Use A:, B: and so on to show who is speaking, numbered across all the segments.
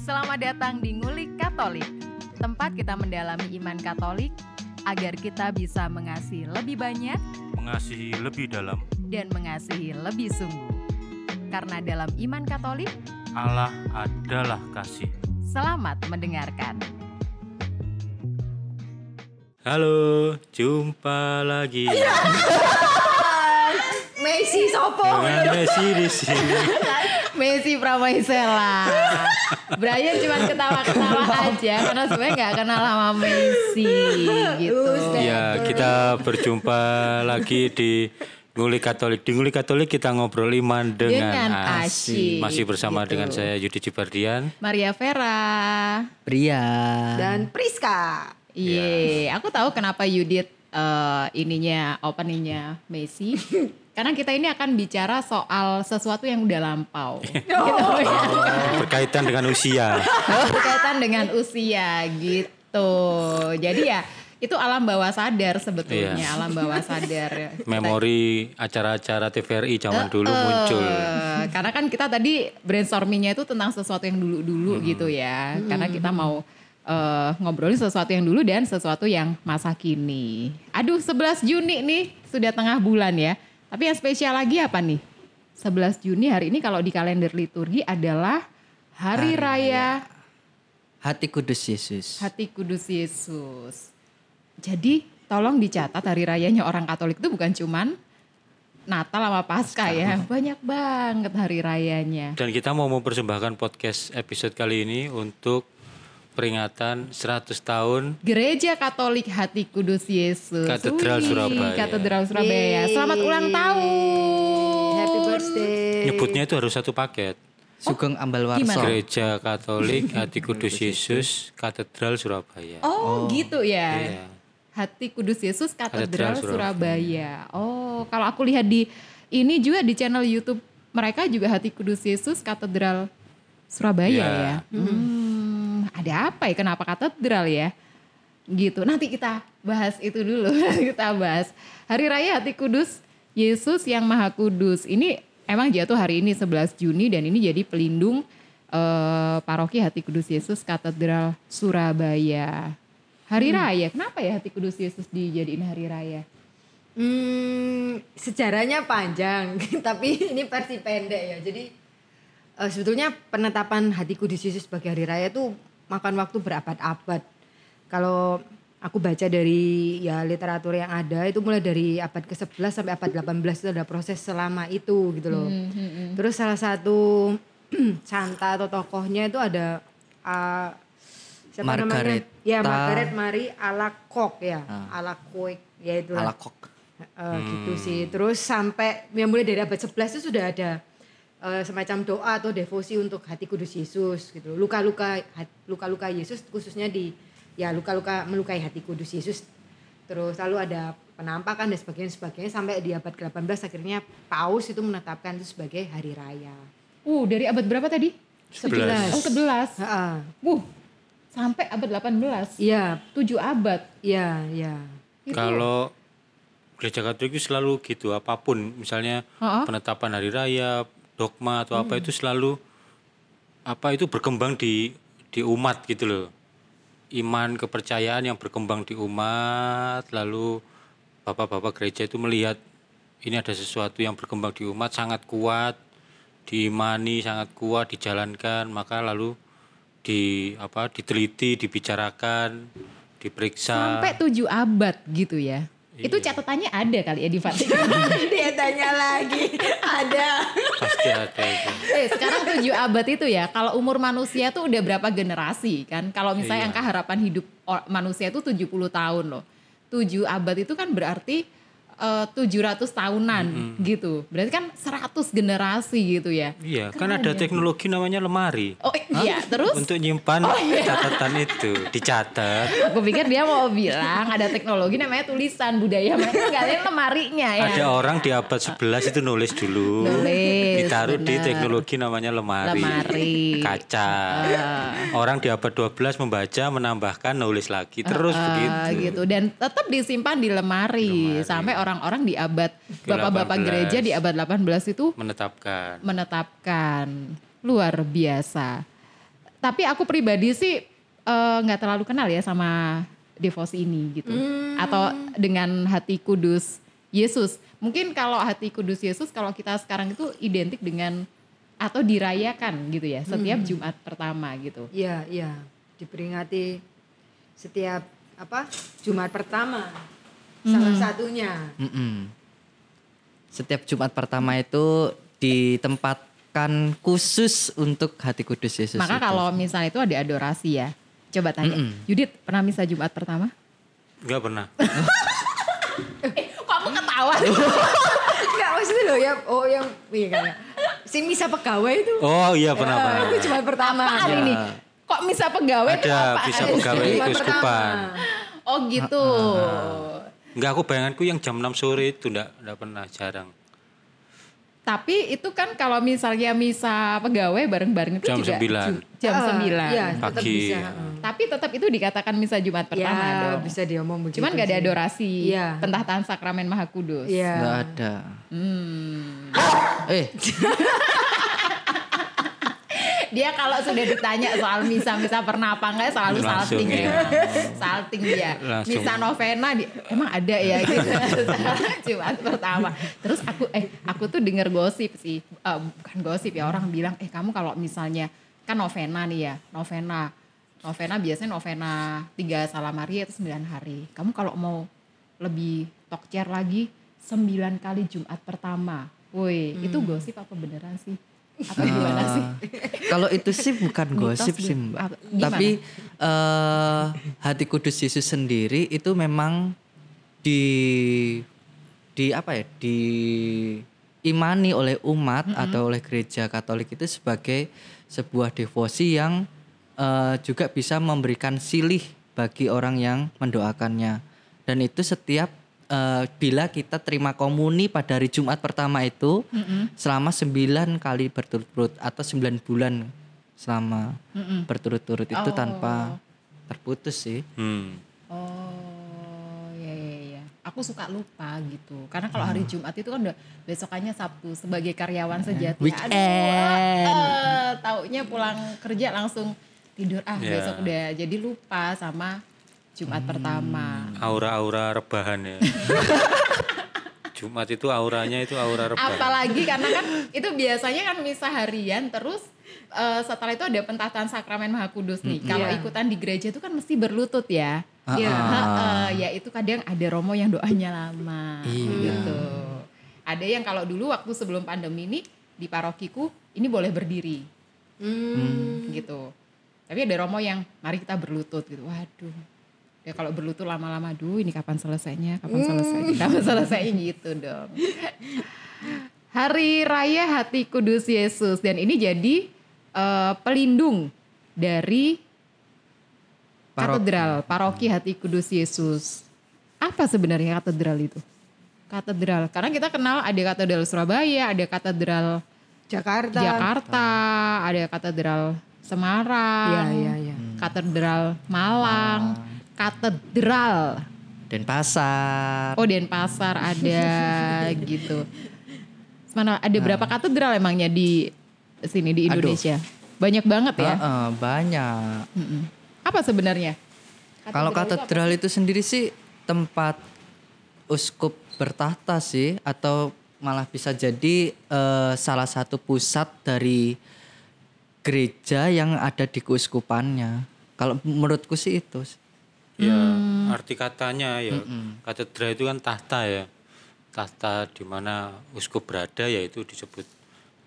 A: Selamat datang di Ngulik Katolik, tempat kita mendalami iman Katolik agar kita bisa mengasihi lebih banyak
B: mengasihi lebih dalam
A: dan mengasihi lebih sungguh. Karena dalam iman Katolik,
B: Allah adalah kasih.
A: selamat mendengarkan.
B: Halo, jumpa lagi
A: Messi Sopo,
B: dengan Messi di sini.
A: Messi Pramaisela. Brian cuma ketawa-ketawa aja karena sebenarnya nggak kenal sama Messi gitu.
B: Ya, kita berjumpa lagi di Ngulik Katolik. Di Ngulik Katolik kita ngobrol iman dengan,
A: Dengan asyik,
B: asyik. Masih bersama dengan saya Yudi Cibardian.
A: Maria Vera.
C: Pria.
D: dan Priska.
A: Iya, aku tahu kenapa Yudit eh, ininya openingnya Messi. Karena kita ini akan bicara soal sesuatu yang udah lampau. Gitu ya.
B: Oh. Berkaitan dengan usia.
A: Berkaitan dengan usia gitu. Jadi ya itu alam bawah sadar sebetulnya,
B: Iya.
A: alam bawah sadar.
B: Memori acara-acara TVRI zaman dulu muncul.
A: Eh, karena kan kita tadi brainstormingnya itu tentang sesuatu yang dulu-dulu gitu ya. Karena kita mau eh, ngobrolin sesuatu yang dulu dan sesuatu yang masa kini. Aduh 11 Juni nih sudah tengah bulan ya. Tapi yang spesial lagi apa nih? 11 Juni hari ini kalau di kalender liturgi adalah Hari, Raya
C: Hati Kudus Yesus.
A: Hati Kudus Yesus. Jadi tolong dicatat hari rayanya orang Katolik itu bukan cuman Natal sama Paskah ya. Banyak banget hari rayanya.
B: Dan kita mau mempersembahkan podcast episode kali ini untuk peringatan 100 tahun
A: Gereja Katolik Hati Kudus Yesus.
B: Katedral
A: Wih,
B: Surabaya.
A: Katedral Surabaya. Selamat ulang tahun.
D: Happy birthday.
B: nyebutnya itu harus satu paket.
C: Sugeng
A: Oh,
C: Ambal Warso.
B: Gereja Katolik Hati Kudus Yesus Katedral Surabaya.
A: Oh, gitu ya.
B: Iya.
A: Hati Kudus Yesus Katedral
B: Katedral
A: Surabaya. Oh, kalau aku lihat di ini juga di channel YouTube mereka juga Hati Kudus Yesus Katedral Surabaya
B: Iya.
A: ya. Hmm, ada apa ya? Kenapa katedral ya? Gitu. Nanti kita bahas itu dulu. kita bahas Hari Raya Hati Kudus Yesus yang Maha Kudus. Ini emang jatuh hari ini 11 Juni dan ini jadi pelindung eh, paroki Hati Kudus Yesus Katedral Surabaya. Hari raya, kenapa ya hati kudus Yesus dijadiin hari raya?
D: Hmm, sejarahnya panjang, tapi ini versi pendek ya. Jadi eh, sebetulnya penetapan hati kudus Yesus sebagai hari raya itu makan waktu berabad-abad. Kalau aku baca dari ya literatur yang ada itu mulai dari abad ke-11 sampai abad 18 itu ada proses selama itu gitu loh.
C: Hmm,
D: Terus salah satu santa atau tokohnya itu ada eh, siapa
C: Margaret.
D: namanya? Ya
C: Ta- Ah.
D: Margaret Mary Alacoque ya, Alacoque ya itu.
C: Ala kok.
D: Eh, gitu sih. Terus sampai yang mulai dari abad 11 itu sudah ada eh, semacam doa atau devosi untuk hati kudus Yesus gitu. Luka-luka hat- luka-luka Yesus khususnya di ya luka-luka melukai hati kudus Yesus. Terus lalu ada penampakan dan sebagainya sebagainya sampai di abad ke-18 akhirnya Paus itu menetapkan itu sebagai hari raya.
A: Uh, dari abad berapa tadi? Oh,
B: 11.
A: 11.
D: Heeh.
A: Uh, sampai abad 18.
D: Iya,
A: 7 abad.
D: iya, iya.
A: Itu.
B: Kalau gereja Katolik itu selalu gitu apapun misalnya
A: Ha-ha.
B: penetapan hari raya, dogma atau apa itu selalu apa itu berkembang di di umat gitu loh. Iman kepercayaan yang berkembang di umat lalu bapak-bapak gereja itu melihat ini ada sesuatu yang berkembang di umat sangat kuat diimani sangat kuat dijalankan maka lalu di apa diteliti dibicarakan diperiksa
A: Sampai 7 abad gitu ya. Itu catatannya ada kali ya di Vatikan.
D: Dia tanya lagi. Ada.
B: pasti ada itu.
A: eh, sekarang 7 abad itu ya. Kalau umur manusia tuh udah berapa generasi kan? Kalau misalnya angka harapan hidup or- manusia itu 70 tahun loh. 7 abad itu kan berarti eh, 700 tahunan gitu. Berarti kan 100 generasi gitu ya.
B: Iya, kan ada teknologi namanya lemari
A: Oh iya, terus Oh, iya.
B: untuk nyimpan catatan itu, dicatat.
A: aku pikir dia mau bilang ada teknologi namanya tulisan budaya mereka kalian lemarinya ya.
B: Ada orang di abad 11 itu nulis dulu,
A: Nulis,
B: ditaruh di
A: bener.
B: teknologi namanya lemari,
A: Lemari. Ah.
B: kaca. Orang di abad 12 membaca, menambahkan, nulis lagi, terus
A: Eh,
B: begitu.
A: gitu dan tetap disimpan di lemari, sampai orang-orang di abad bapak-bapak
B: 18.
A: gereja di abad 18 itu
B: Menetapkan.
A: menetapkan luar biasa. Tapi aku pribadi sih eh, nggak terlalu kenal ya sama devosi ini gitu. Atau dengan hati kudus Yesus. Mungkin kalau hati kudus Yesus kalau kita sekarang itu identik dengan atau dirayakan gitu ya setiap Jumat pertama gitu.
D: Iya, iya. Diperingati setiap apa? Jumat pertama.
A: Hmm.
D: Salah satunya.
C: Mm-mm. Setiap Jumat pertama itu ditempatkan khusus untuk hati kudus Yesus.
A: Maka
C: itu.
A: kalau misalnya itu ada adorasi ya. Coba tanya, Yudit pernah misa Jumat pertama?
B: Enggak pernah.
A: Eh, kok aku ketawa?
D: Enggak maksudnya loh ya. Oh, yang iya kan. Si misa pegawai itu.
B: Oh iya
A: Ah.
B: pernah Iya.
D: Eh,
B: pernah.
D: itu Jumat pertama.
A: Apaan
C: Ya.
A: ini? Kok misa pegawai? itu
B: Ada
A: apaan?
B: misa pegawai
D: Jumat
B: keuskupan.
D: pertama.
A: Oh gitu.
B: Enggak aku bayanganku yang jam 6 sore itu enggak enggak pernah jarang.
A: Tapi itu kan kalau misalnya misa pegawai bareng-bareng itu
B: Jam
A: juga
B: 9.
A: ju- jam
D: Ah,
A: 9.
D: Iya, tetap
B: Pagi.
D: bisa.
A: Tapi tetap itu dikatakan misa Jumat
D: Ya,
A: pertama dong.
D: bisa diomong begitu.
A: Cuman gak ada
D: sih.
A: adorasi
D: Iya.
A: pentahtaan sakramen Maha Kudus.
D: Iya.
C: Nggak ada.
A: Hmm.
C: Eh,
A: Dia kalau sudah ditanya soal misa-misa pernah apa enggak selalu
B: Langsung,
A: salting
B: ya.
A: ya. Salting dia.
B: Langsung.
A: Misa novena dia, emang ada ya gitu. Jumat pertama. Terus aku eh aku tuh denger gosip sih. Eh, bukan gosip ya orang bilang eh kamu kalau misalnya kan novena nih ya, novena. Novena biasanya novena tiga salam hari atau sembilan hari. Kamu kalau mau lebih tokcer lagi sembilan kali Jumat pertama. Woi, itu gosip apa beneran sih? Apa
B: Nah.
A: gimana sih?
C: eh, kalau itu sih bukan
A: Mitos
C: gosip
A: dia.
C: sih mbak.
A: Apa- gimana?
C: Tapi eh hati kudus Yesus sendiri itu memang di di apa ya di imani oleh umat atau oleh gereja Katolik itu sebagai sebuah devosi yang eh, juga bisa memberikan silih bagi orang yang mendoakannya dan itu setiap eh, bila kita terima komuni pada hari Jumat pertama itu selama 9 kali berturut-turut atau 9 bulan selama berturut-turut itu tanpa terputus sih
B: Hmm.
A: Oh, ya ya ya. Aku suka lupa gitu. Karena kalau hari Jumat itu kan udah besokannya Sabtu sebagai karyawan sejati.
C: Weekend.
A: Aduh, eh, taunya pulang kerja langsung tidur ah
B: Ya.
A: besok udah jadi lupa sama Jumat pertama.
B: Aura-aura rebahan ya. Jumat itu auranya itu aura rebahan.
A: Apalagi karena kan itu biasanya kan misa harian terus eh, setelah itu ada pentataan sakramen Maha Kudus nih. Kalau
D: Iya.
A: ikutan di gereja itu kan mesti berlutut ya.
C: Ah,
A: Iya,
C: ah.
A: heeh, ya itu kadang ada romo yang doanya lama
C: Iya.
A: gitu. Ada yang kalau dulu waktu sebelum pandemi ini di parokiku ini boleh berdiri
D: Hmm.
A: gitu. Tapi ada romo yang mari kita berlutut gitu. Waduh. Ya kalau berlutut lama-lama duh ini kapan selesainya? Kapan
D: Hmm.
A: selesainya? Kapan selesainya gitu dong. Hari Raya Hati Kudus Yesus dan ini jadi eh, pelindung dari
C: Paroki.
A: katedral Paroki Hati Kudus Yesus. Apa sebenarnya katedral itu? Katedral. Karena kita kenal ada katedral Surabaya, ada katedral
D: Jakarta.
A: Jakarta, ada katedral Semarang,
D: Iya, iya, iya.
A: katedral Malang, katedral
C: dan pasar
A: oh Denpasar ada gitu. Mana ada berapa katedral emangnya di sini di
C: Aduh.
A: Indonesia? Banyak banget ya.
C: Heeh, banyak
A: Mm-mm. Apa sebenarnya?
C: Kalau katedral itu sendiri sih tempat uskup bertahta sih atau malah bisa jadi eh, salah satu pusat dari gereja yang ada di keuskupannya. Kalau menurutku sih itu.
B: Ya,
D: Hmm.
B: arti katanya ya katedra itu kan tahta ya. Tahta di mana uskup berada yaitu disebut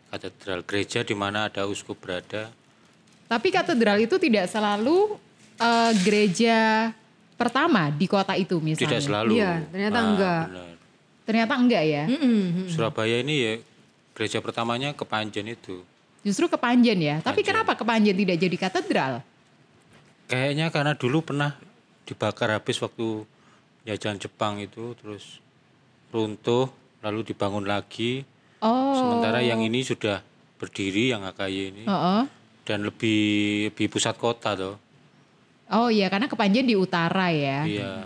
B: katedral gereja di mana ada uskup berada.
A: Tapi katedral itu tidak selalu eh, gereja pertama di kota itu misalnya.
B: Tidak selalu. Ah,
D: Iya, ternyata enggak. Mm-hmm.
B: benar.
A: Ternyata enggak ya.
D: Mm-mm.
B: Surabaya ini ya gereja pertamanya Kepanjen itu.
A: Justru kepanjen ya. Tapi kenapa kepanjen tidak jadi katedral?
B: Kayaknya karena dulu pernah dibakar habis waktu jajahan Jepang itu terus runtuh lalu dibangun lagi.
A: Oh.
B: Sementara yang ini sudah berdiri yang HKY ini
A: Heeh.
B: dan lebih lebih pusat kota toh.
A: Oh iya, karena kepanjen di utara ya.
B: Iya.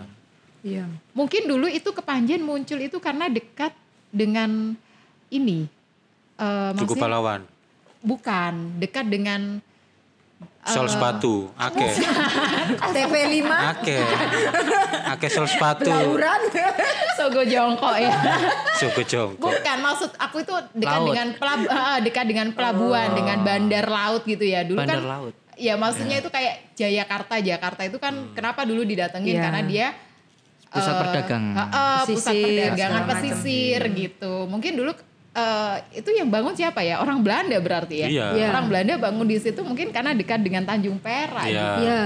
D: Iya.
A: Mungkin dulu itu kepanjen muncul itu karena dekat dengan ini. Eh, maksudnya
B: Cukup pahlawan.
A: bukan dekat dengan
B: Sol Eh, sepatu, akeh.
D: TP5
B: Akeh. Akeh sol sepatu.
D: belauran
A: Sogo jongkok ya.
B: Jogo jongkok.
A: Bukan maksud aku itu dekat
C: Laut. Oh.
A: dengan pelab- eh, dekat dengan pelabuhan, dengan bandar laut gitu ya. Dulu
C: Bandar
A: kan
C: laut.
A: Ya
C: Iya.
A: maksudnya itu kayak Jayakarta. Jakarta itu kan kenapa dulu didatengin
D: Iya.
A: karena dia
C: Hmm. Pusat
A: eh,
C: perdagangan. Iya.
A: heeh, pusat
D: Pesisir,
A: perdagangan
D: segala macam.
A: pesisir gitu. Mungkin dulu eh, itu yang bangun siapa ya? Orang Belanda berarti ya.
B: Iya.
D: Iya.
A: Orang Belanda bangun di situ mungkin karena dekat dengan Tanjung Perak.
B: Iya.
D: ya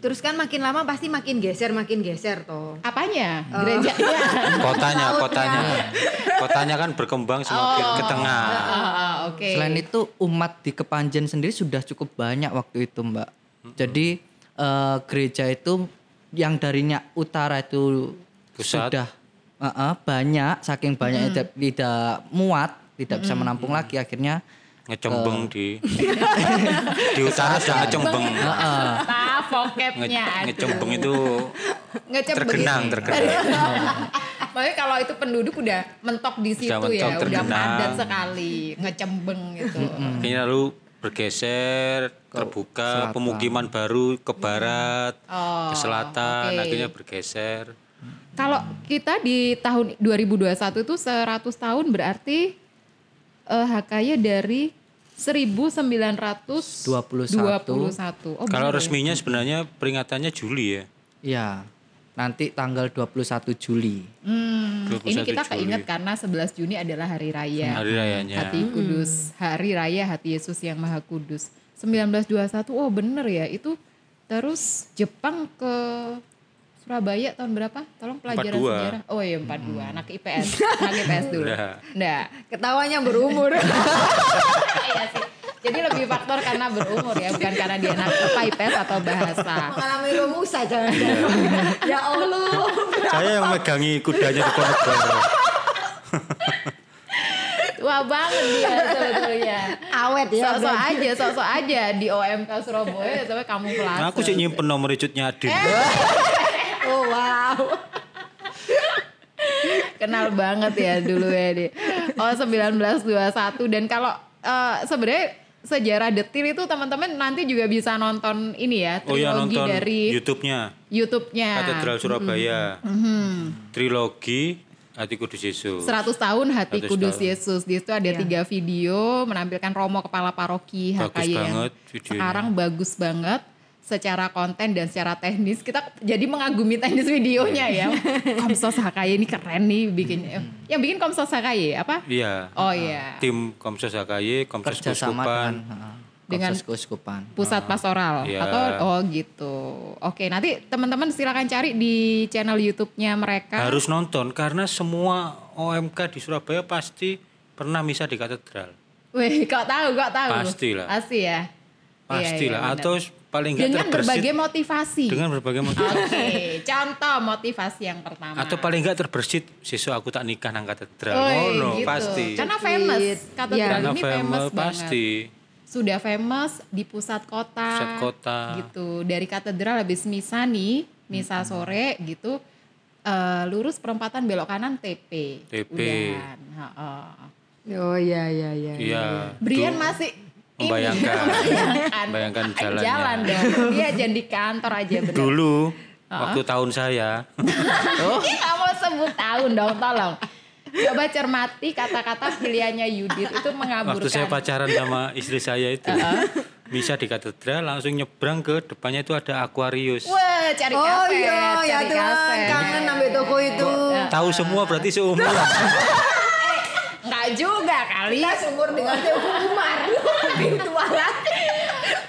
D: terus kan makin lama pasti makin geser makin geser toh
A: Apanya?
D: Oh.
A: Gerejanya.
B: Kotanya,
D: Lautnya.
B: kotanya. Kotanya kan berkembang semakin ke tengah.
A: Ah, Oke.
C: Selain itu umat di Kepanjen sendiri sudah cukup banyak waktu itu Mbak. Jadi eh, gereja itu yang darinya utara itu
B: Pusat.
C: sudah eh, eh, banyak, saking banyaknya tidak- tidak muat, tidak bisa menampung lagi akhirnya
B: Ngecembeng di di utara sudah ngecembeng.
C: ah.
A: Nah, poketnya.
B: Nge-
A: aduh.
B: Ngecembeng itu
A: Ngecep
B: tergenang,
A: begini.
B: tergenang.
A: Makanya kalau itu penduduk udah mentok di situ
B: Sudah mentok,
A: ya, udah
B: tergenang.
A: padat sekali, ngecembeng gitu.
B: Kayaknya lalu bergeser, terbuka, pemukiman baru ke barat,
A: Oh,
B: ke selatan,
A: oke.
B: akhirnya bergeser.
A: Kalau kita di tahun 2021 itu 100 tahun berarti eh HKY dari 1921.
C: 21.
A: Oh,
B: Kalau
A: bener ya?
B: resminya sebenarnya peringatannya Juli ya.
C: ya nanti tanggal 21 Juli.
A: Hmm, ini
B: 21
A: kita
B: Juli.
A: keinget karena 11 Juni adalah hari raya.
B: Hari rayanya.
A: Hati Kudus, Hari Raya Hati Yesus yang Maha Kudus. 1921, oh bener ya itu. Terus Jepang ke Surabaya tahun berapa? Tolong pelajaran
B: 42.
A: sejarah. Oh iya 42,
B: Hmm.
A: anak IPS, anak IPS dulu.
B: Udah.
A: Nggak.
D: ketawanya berumur
A: Iya sih. Jadi lebih faktor karena berumur ya, bukan karena dia anak apa IPS atau bahasa.
D: mengalami rumusa jangan ya Allah
B: Saya yang megangi kudanya di Ponegoro.
A: Tua banget dia sebetulnya.
D: awet ya
A: Sok-sok aja, sok-sok aja di OMK Surabaya sampai kamu kelas.
B: Nah, aku sih nyimpen nomor icutnya Adin.
A: Eh,
D: oh wow
A: kenal banget ya dulu ya di oh 1921 dan kalau eh, sebenarnya sejarah detil itu teman-teman nanti juga bisa nonton ini ya
B: Oh iya
A: trilogi
B: nonton
A: dari Nah,
B: YouTube-nya
A: YouTube-nya
B: Katedral Surabaya.
A: mm-hmm.
B: Trilogi Hati Kudus Yesus.
A: 100 tahun hati
B: 100
A: kudus
B: tahun.
A: Yesus di situ ada tiga video menampilkan Romo kepala paroki
B: Bagus
A: HKY yang
B: banget videonya.
A: sekarang bagus banget secara konten dan secara teknis kita jadi mengagumi teknis videonya
B: Iya.
A: ya Komsos HKY ini keren nih bikin
B: Hmm.
A: yang bikin Komsos HKY apa
B: Iya.
A: oh iya
B: Tim Komsos HKY, Komsos
C: Kerjasama
B: Kuskupan.
A: Dengan-
C: dengan keuskupan.
A: pusat pastoral
B: Iya.
A: atau oh gitu. Oke, nanti teman-teman silakan cari di channel YouTube-nya mereka.
B: Harus nonton karena semua OMK di Surabaya pasti pernah misa di katedral.
A: Wih, kok tahu, kok tahu.
B: Pastilah.
A: Pasti ya.
B: Pastilah
A: Iya, iya,
B: atau paling
A: benar.
B: enggak
A: dengan
B: terbersit
A: berbagai motivasi.
B: dengan berbagai motif.
A: Oke, contoh motivasi yang pertama.
B: atau paling enggak terbersit siswa aku tak nikah nang katedral.
A: Woi,
B: Oh no,
A: gitu.
B: pasti.
A: Karena famous, katedral
B: Karena
A: ini famous,
B: famous
A: banget.
B: pasti.
A: Sudah famous di pusat kota.
B: Pusat kota.
A: Gitu. Dari katedral habis misa nih, misa sore gitu. eh, lurus perempatan belok kanan TP.
B: TP.
A: Udahan. Heeh.
D: oh iya iya iya
B: Iya.
A: Brian masih ini,
B: membayangkan.
A: membayangkan,
B: Membayangkan jalannya.
A: jalan dong. Dia jangan di kantor aja bener.
B: Dulu waktu tahun saya Oh.
A: Ih, nggak mau sebut tahun dong, tolong. Coba cermati kata-kata pilihannya Yudit itu mengaburkan.
B: waktu saya pacaran sama istri saya itu bisa di katedral langsung nyebrang ke depannya itu ada akuarius
A: Wah, cari
D: oh
A: kaset,
D: iya
A: cari
D: ya Tuhan
A: kaset.
D: kangen ambil toko itu
B: tahu semua berarti seumuran
A: Nggak juga kali.
D: kita sumur eh, dengan toko Umar virtual
B: dulu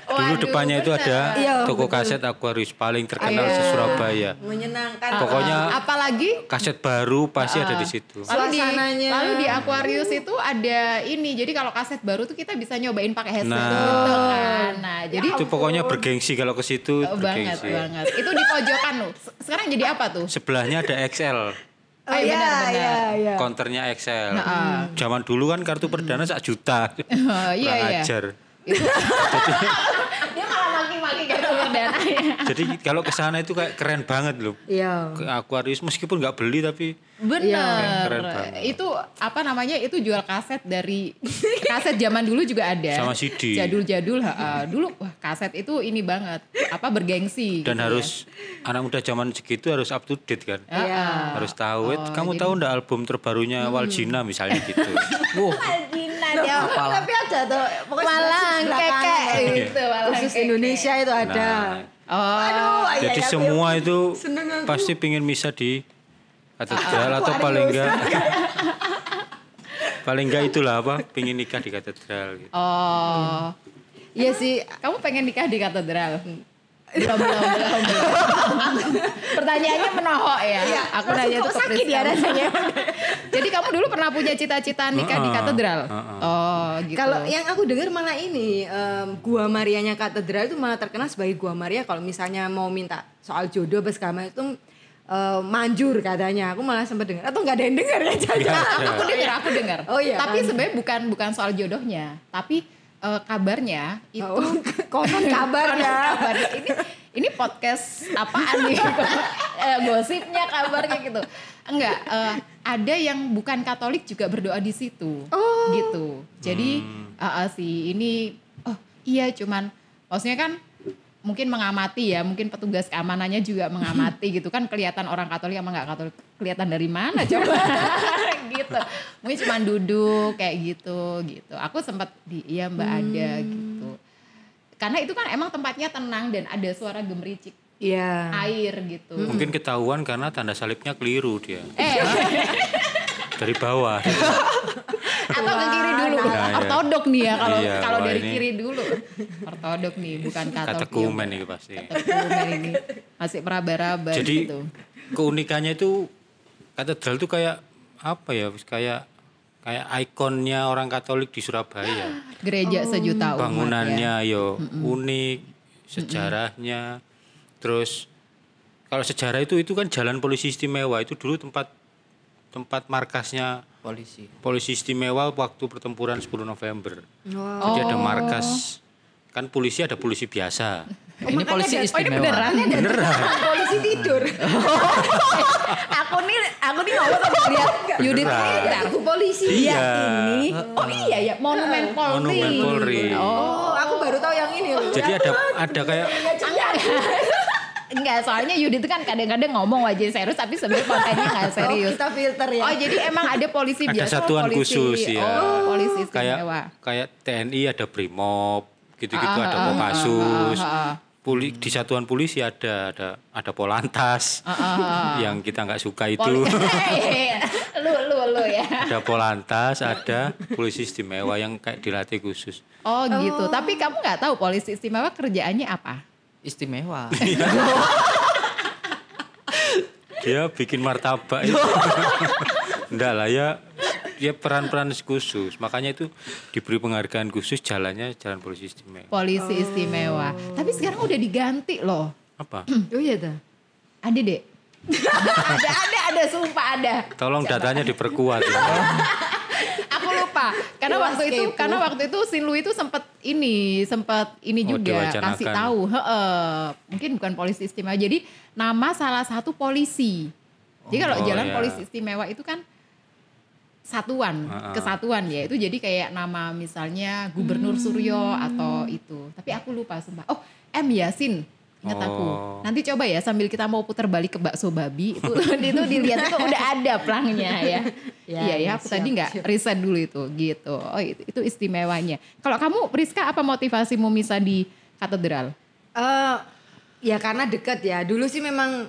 A: Waduh,
B: depannya itu
A: bener.
B: ada
D: Iya,
B: toko kaset akuarius paling terkenal
A: Iya.
B: di Surabaya
D: menyenangkan
B: Pokoknya-
A: Ah, Apalagi
B: kaset baru pasti ada di situ
A: lalu di,
D: Suasananya.
A: lalu di Aquarius itu ada ini. Jadi kalau kaset baru tuh kita bisa nyobain pakai headset
B: Nah.
A: gitu kan. Nah,
D: Ya.
A: jadi
B: itu pokoknya bergengsi kalau ke situ
A: Oh, banget
B: bergengsi
A: banget. Itu di pojokan loh. Se- Sekarang jadi apa tuh?
B: sebelahnya ada XL
D: oh
A: Ayo,
D: iya
A: benar-benar.
D: iya iya
B: konternya XL zaman dulu kan kartu perdana sak juta
A: Oh, iya
B: Kurang
A: iya.
B: ajar
A: Dia malah maki-maki kartu perdana. dan ayah.
B: Jadi kalau ke sana itu kayak keren banget loh.
D: Iya.
B: Ke Aquarius meskipun nggak beli tapi Keren-
A: Bener.
B: keren banget.
A: itu apa namanya? Itu jual kaset dari kaset zaman dulu juga ada.
B: Sama CD.
A: Jadul-jadul ha, ha. dulu wah kaset itu ini banget. Apa
D: Iya.
A: bergengsi
B: dan
A: gitu ya.
B: harus anak muda zaman segitu harus up to date kan.
A: Ha,
D: Iya.
A: ha.
D: Ah,
B: Harus tahu.
D: Oh,
B: "Eh, kamu tahu ndak album terbarunya
D: Hmm.
B: Waljina misalnya gitu.
D: Iya,
C: Wow,
D: ya, tapi ada tuh pokoknya
A: Walang
D: sebelah kanan
A: kekek
D: ada.
A: gitu, walang
D: Khusus
A: kekek.
D: Indonesia itu ada.
B: Nah,
D: Aduh, ayah,
B: Jadi
D: ayah,
B: semua itu
D: iya, Seneng aku. Ah,
B: pasti pingin misa di katedral atau paling enggak paling enggak itulah apa pingin nikah di katedral gitu.
A: Oh.
D: Iya sih,
A: Kamu pengen nikah di katedral? Belum, belum, belum, belum. Pertanyaannya menohok ya. Aku nanya itu ke
D: kok Iya. sakit ya
A: Priska.
D: rasanya.
A: Jadi kamu dulu pernah punya cita-cita nikah di
B: Heeh,
A: katedral?
B: heeh.
A: Oh, gitu.
D: Kalau yang aku dengar malah ini em, Gua Marianya Katedral itu malah terkenal sebagai Gua Maria kalau misalnya mau minta soal jodoh apa segala macam itu em, manjur katanya. Aku malah sempat dengar atau nggak ada yang dengar ya Caca.
A: aku dengar, aku dengar.
D: Oh, iya,
A: Tapi
D: kan.
A: sebenarnya bukan bukan soal jodohnya, tapi eh, kabarnya itu
D: Oh, konon kabar ya.
A: kabar ini ini podcast apaan nih? Eh, gosipnya kabarnya gitu. Enggak, eh, ada yang bukan Katolik juga berdoa di situ.
D: Oh.
A: Gitu. Jadi eh, eh, si ini oh iya cuman maksudnya kan mungkin mengamati ya, mungkin petugas keamanannya juga mengamati gitu kan kelihatan orang Katolik sama nggak Katolik kelihatan dari mana coba gitu. Mungkin cuman duduk kayak gitu gitu. Aku sempat di iya Mbak ada
D: Hmm.
A: gitu. Karena itu kan emang tempatnya tenang dan ada suara gemericik
D: Iya.
B: Ah.
A: air gitu.
D: Hmm.
B: Mungkin ketahuan karena tanda salibnya keliru dia
A: Eh,
B: dari bawah.
D: Iya,
A: atau ke kiri dulu.
B: Nah, iya.
A: Ortodok nih ya kalau
B: Iya,
A: kalau
B: wah,
A: dari
B: ini-
A: kiri dulu. Ortodok nih, bukan
B: Kata
A: katolik.
B: kumen itu pasti.
A: Katekumen ini masih meraba-raba
B: Jadi
A: gitu.
B: keunikannya itu katedral itu kayak apa ya? Kayak kayak ikonnya orang Katolik di Surabaya.
A: Gereja sejuta umat ya.
B: Bangunannya yo unik, sejarahnya. Terus kalau sejarah itu itu kan jalan polisi istimewa itu dulu tempat tempat markasnya
C: polisi.
B: polisi istimewa waktu pertempuran 10 November. Jadi ada markas kan polisi ada polisi biasa.
C: Ini polisi
A: Oh ini
C: istimewa.
A: beneran ya?
D: Polisi tidur.
A: aku nih aku nih ngomong sama dia Yudit
B: Beneran.
A: ini
D: Aku polisi
B: Iya.
D: yang ini.
A: oh iya ya monumen Polri
B: Monumen Polri.
A: oh
D: Oh, aku baru tahu yang ini loh.
B: Jadi ada ada kayak
A: Iya. enggak soalnya Yudit itu kan kadang-kadang ngomong aja serius tapi sebenarnya kontennya nggak
D: Oh,
A: serius
D: kita filter ya.
A: oh jadi emang ada polisi
B: Ada
A: biasa
B: satuan
A: polisi
B: khusus, ya.
A: oh polisi
B: kayak
A: istimewa
B: kayak TNI ada Brimob, gitu-gitu
A: Ah,
B: ada
A: ah, ah,
B: Kopassus.
A: ah, ah, ah.
B: Poli- di satuan polisi ada ada ada Polantas.
A: Ah,
B: yang kita nggak suka itu.
A: Poli- lu lu lu ya
B: ada Polantas, ada polisi istimewa yang kayak dilatih khusus.
A: oh gitu tapi kamu nggak tahu polisi istimewa kerjaannya apa
C: Istimewa.
B: Dia bikin martabak itu. Enggak lah ya dia peran-peran khusus. Makanya itu diberi penghargaan khusus jalannya jalan polisi istimewa.
A: polisi istimewa tapi sekarang udah diganti loh
B: Apa?
D: Oh iya dah.
A: ada deh ada ada ada sumpah ada
B: Tolong datanya diperkuat. ya.
A: aku lupa karena
D: Iwas
A: waktu itu
D: kepo.
A: karena waktu itu Sinlu itu sempat ini sempat ini
B: Oh,
A: juga
B: diwacanakan.
A: kasih tahu heeh mungkin bukan polisi istimewa jadi nama salah satu polisi jadi kalau
B: Oh,
A: jalan
B: iya.
A: polisi istimewa itu kan satuan
B: Heeh.
A: kesatuan ya itu jadi kayak nama misalnya Gubernur
B: Hmm.
A: Suryo atau itu tapi aku lupa sumpah oh M Yasin ingat aku
B: Oh.
A: nanti coba ya sambil kita mau putar balik ke bakso babi itu itu dilihat itu udah ada pelangnya ya
D: Ya,
A: iya ya
D: ya,
A: aku
D: siap,
A: tadi nggak
D: siap.
A: riset dulu itu gitu oh itu, itu istimewanya kalau kamu Priska apa motivasimu misa di katedral
D: Eh, ya karena dekat ya. Dulu sih memang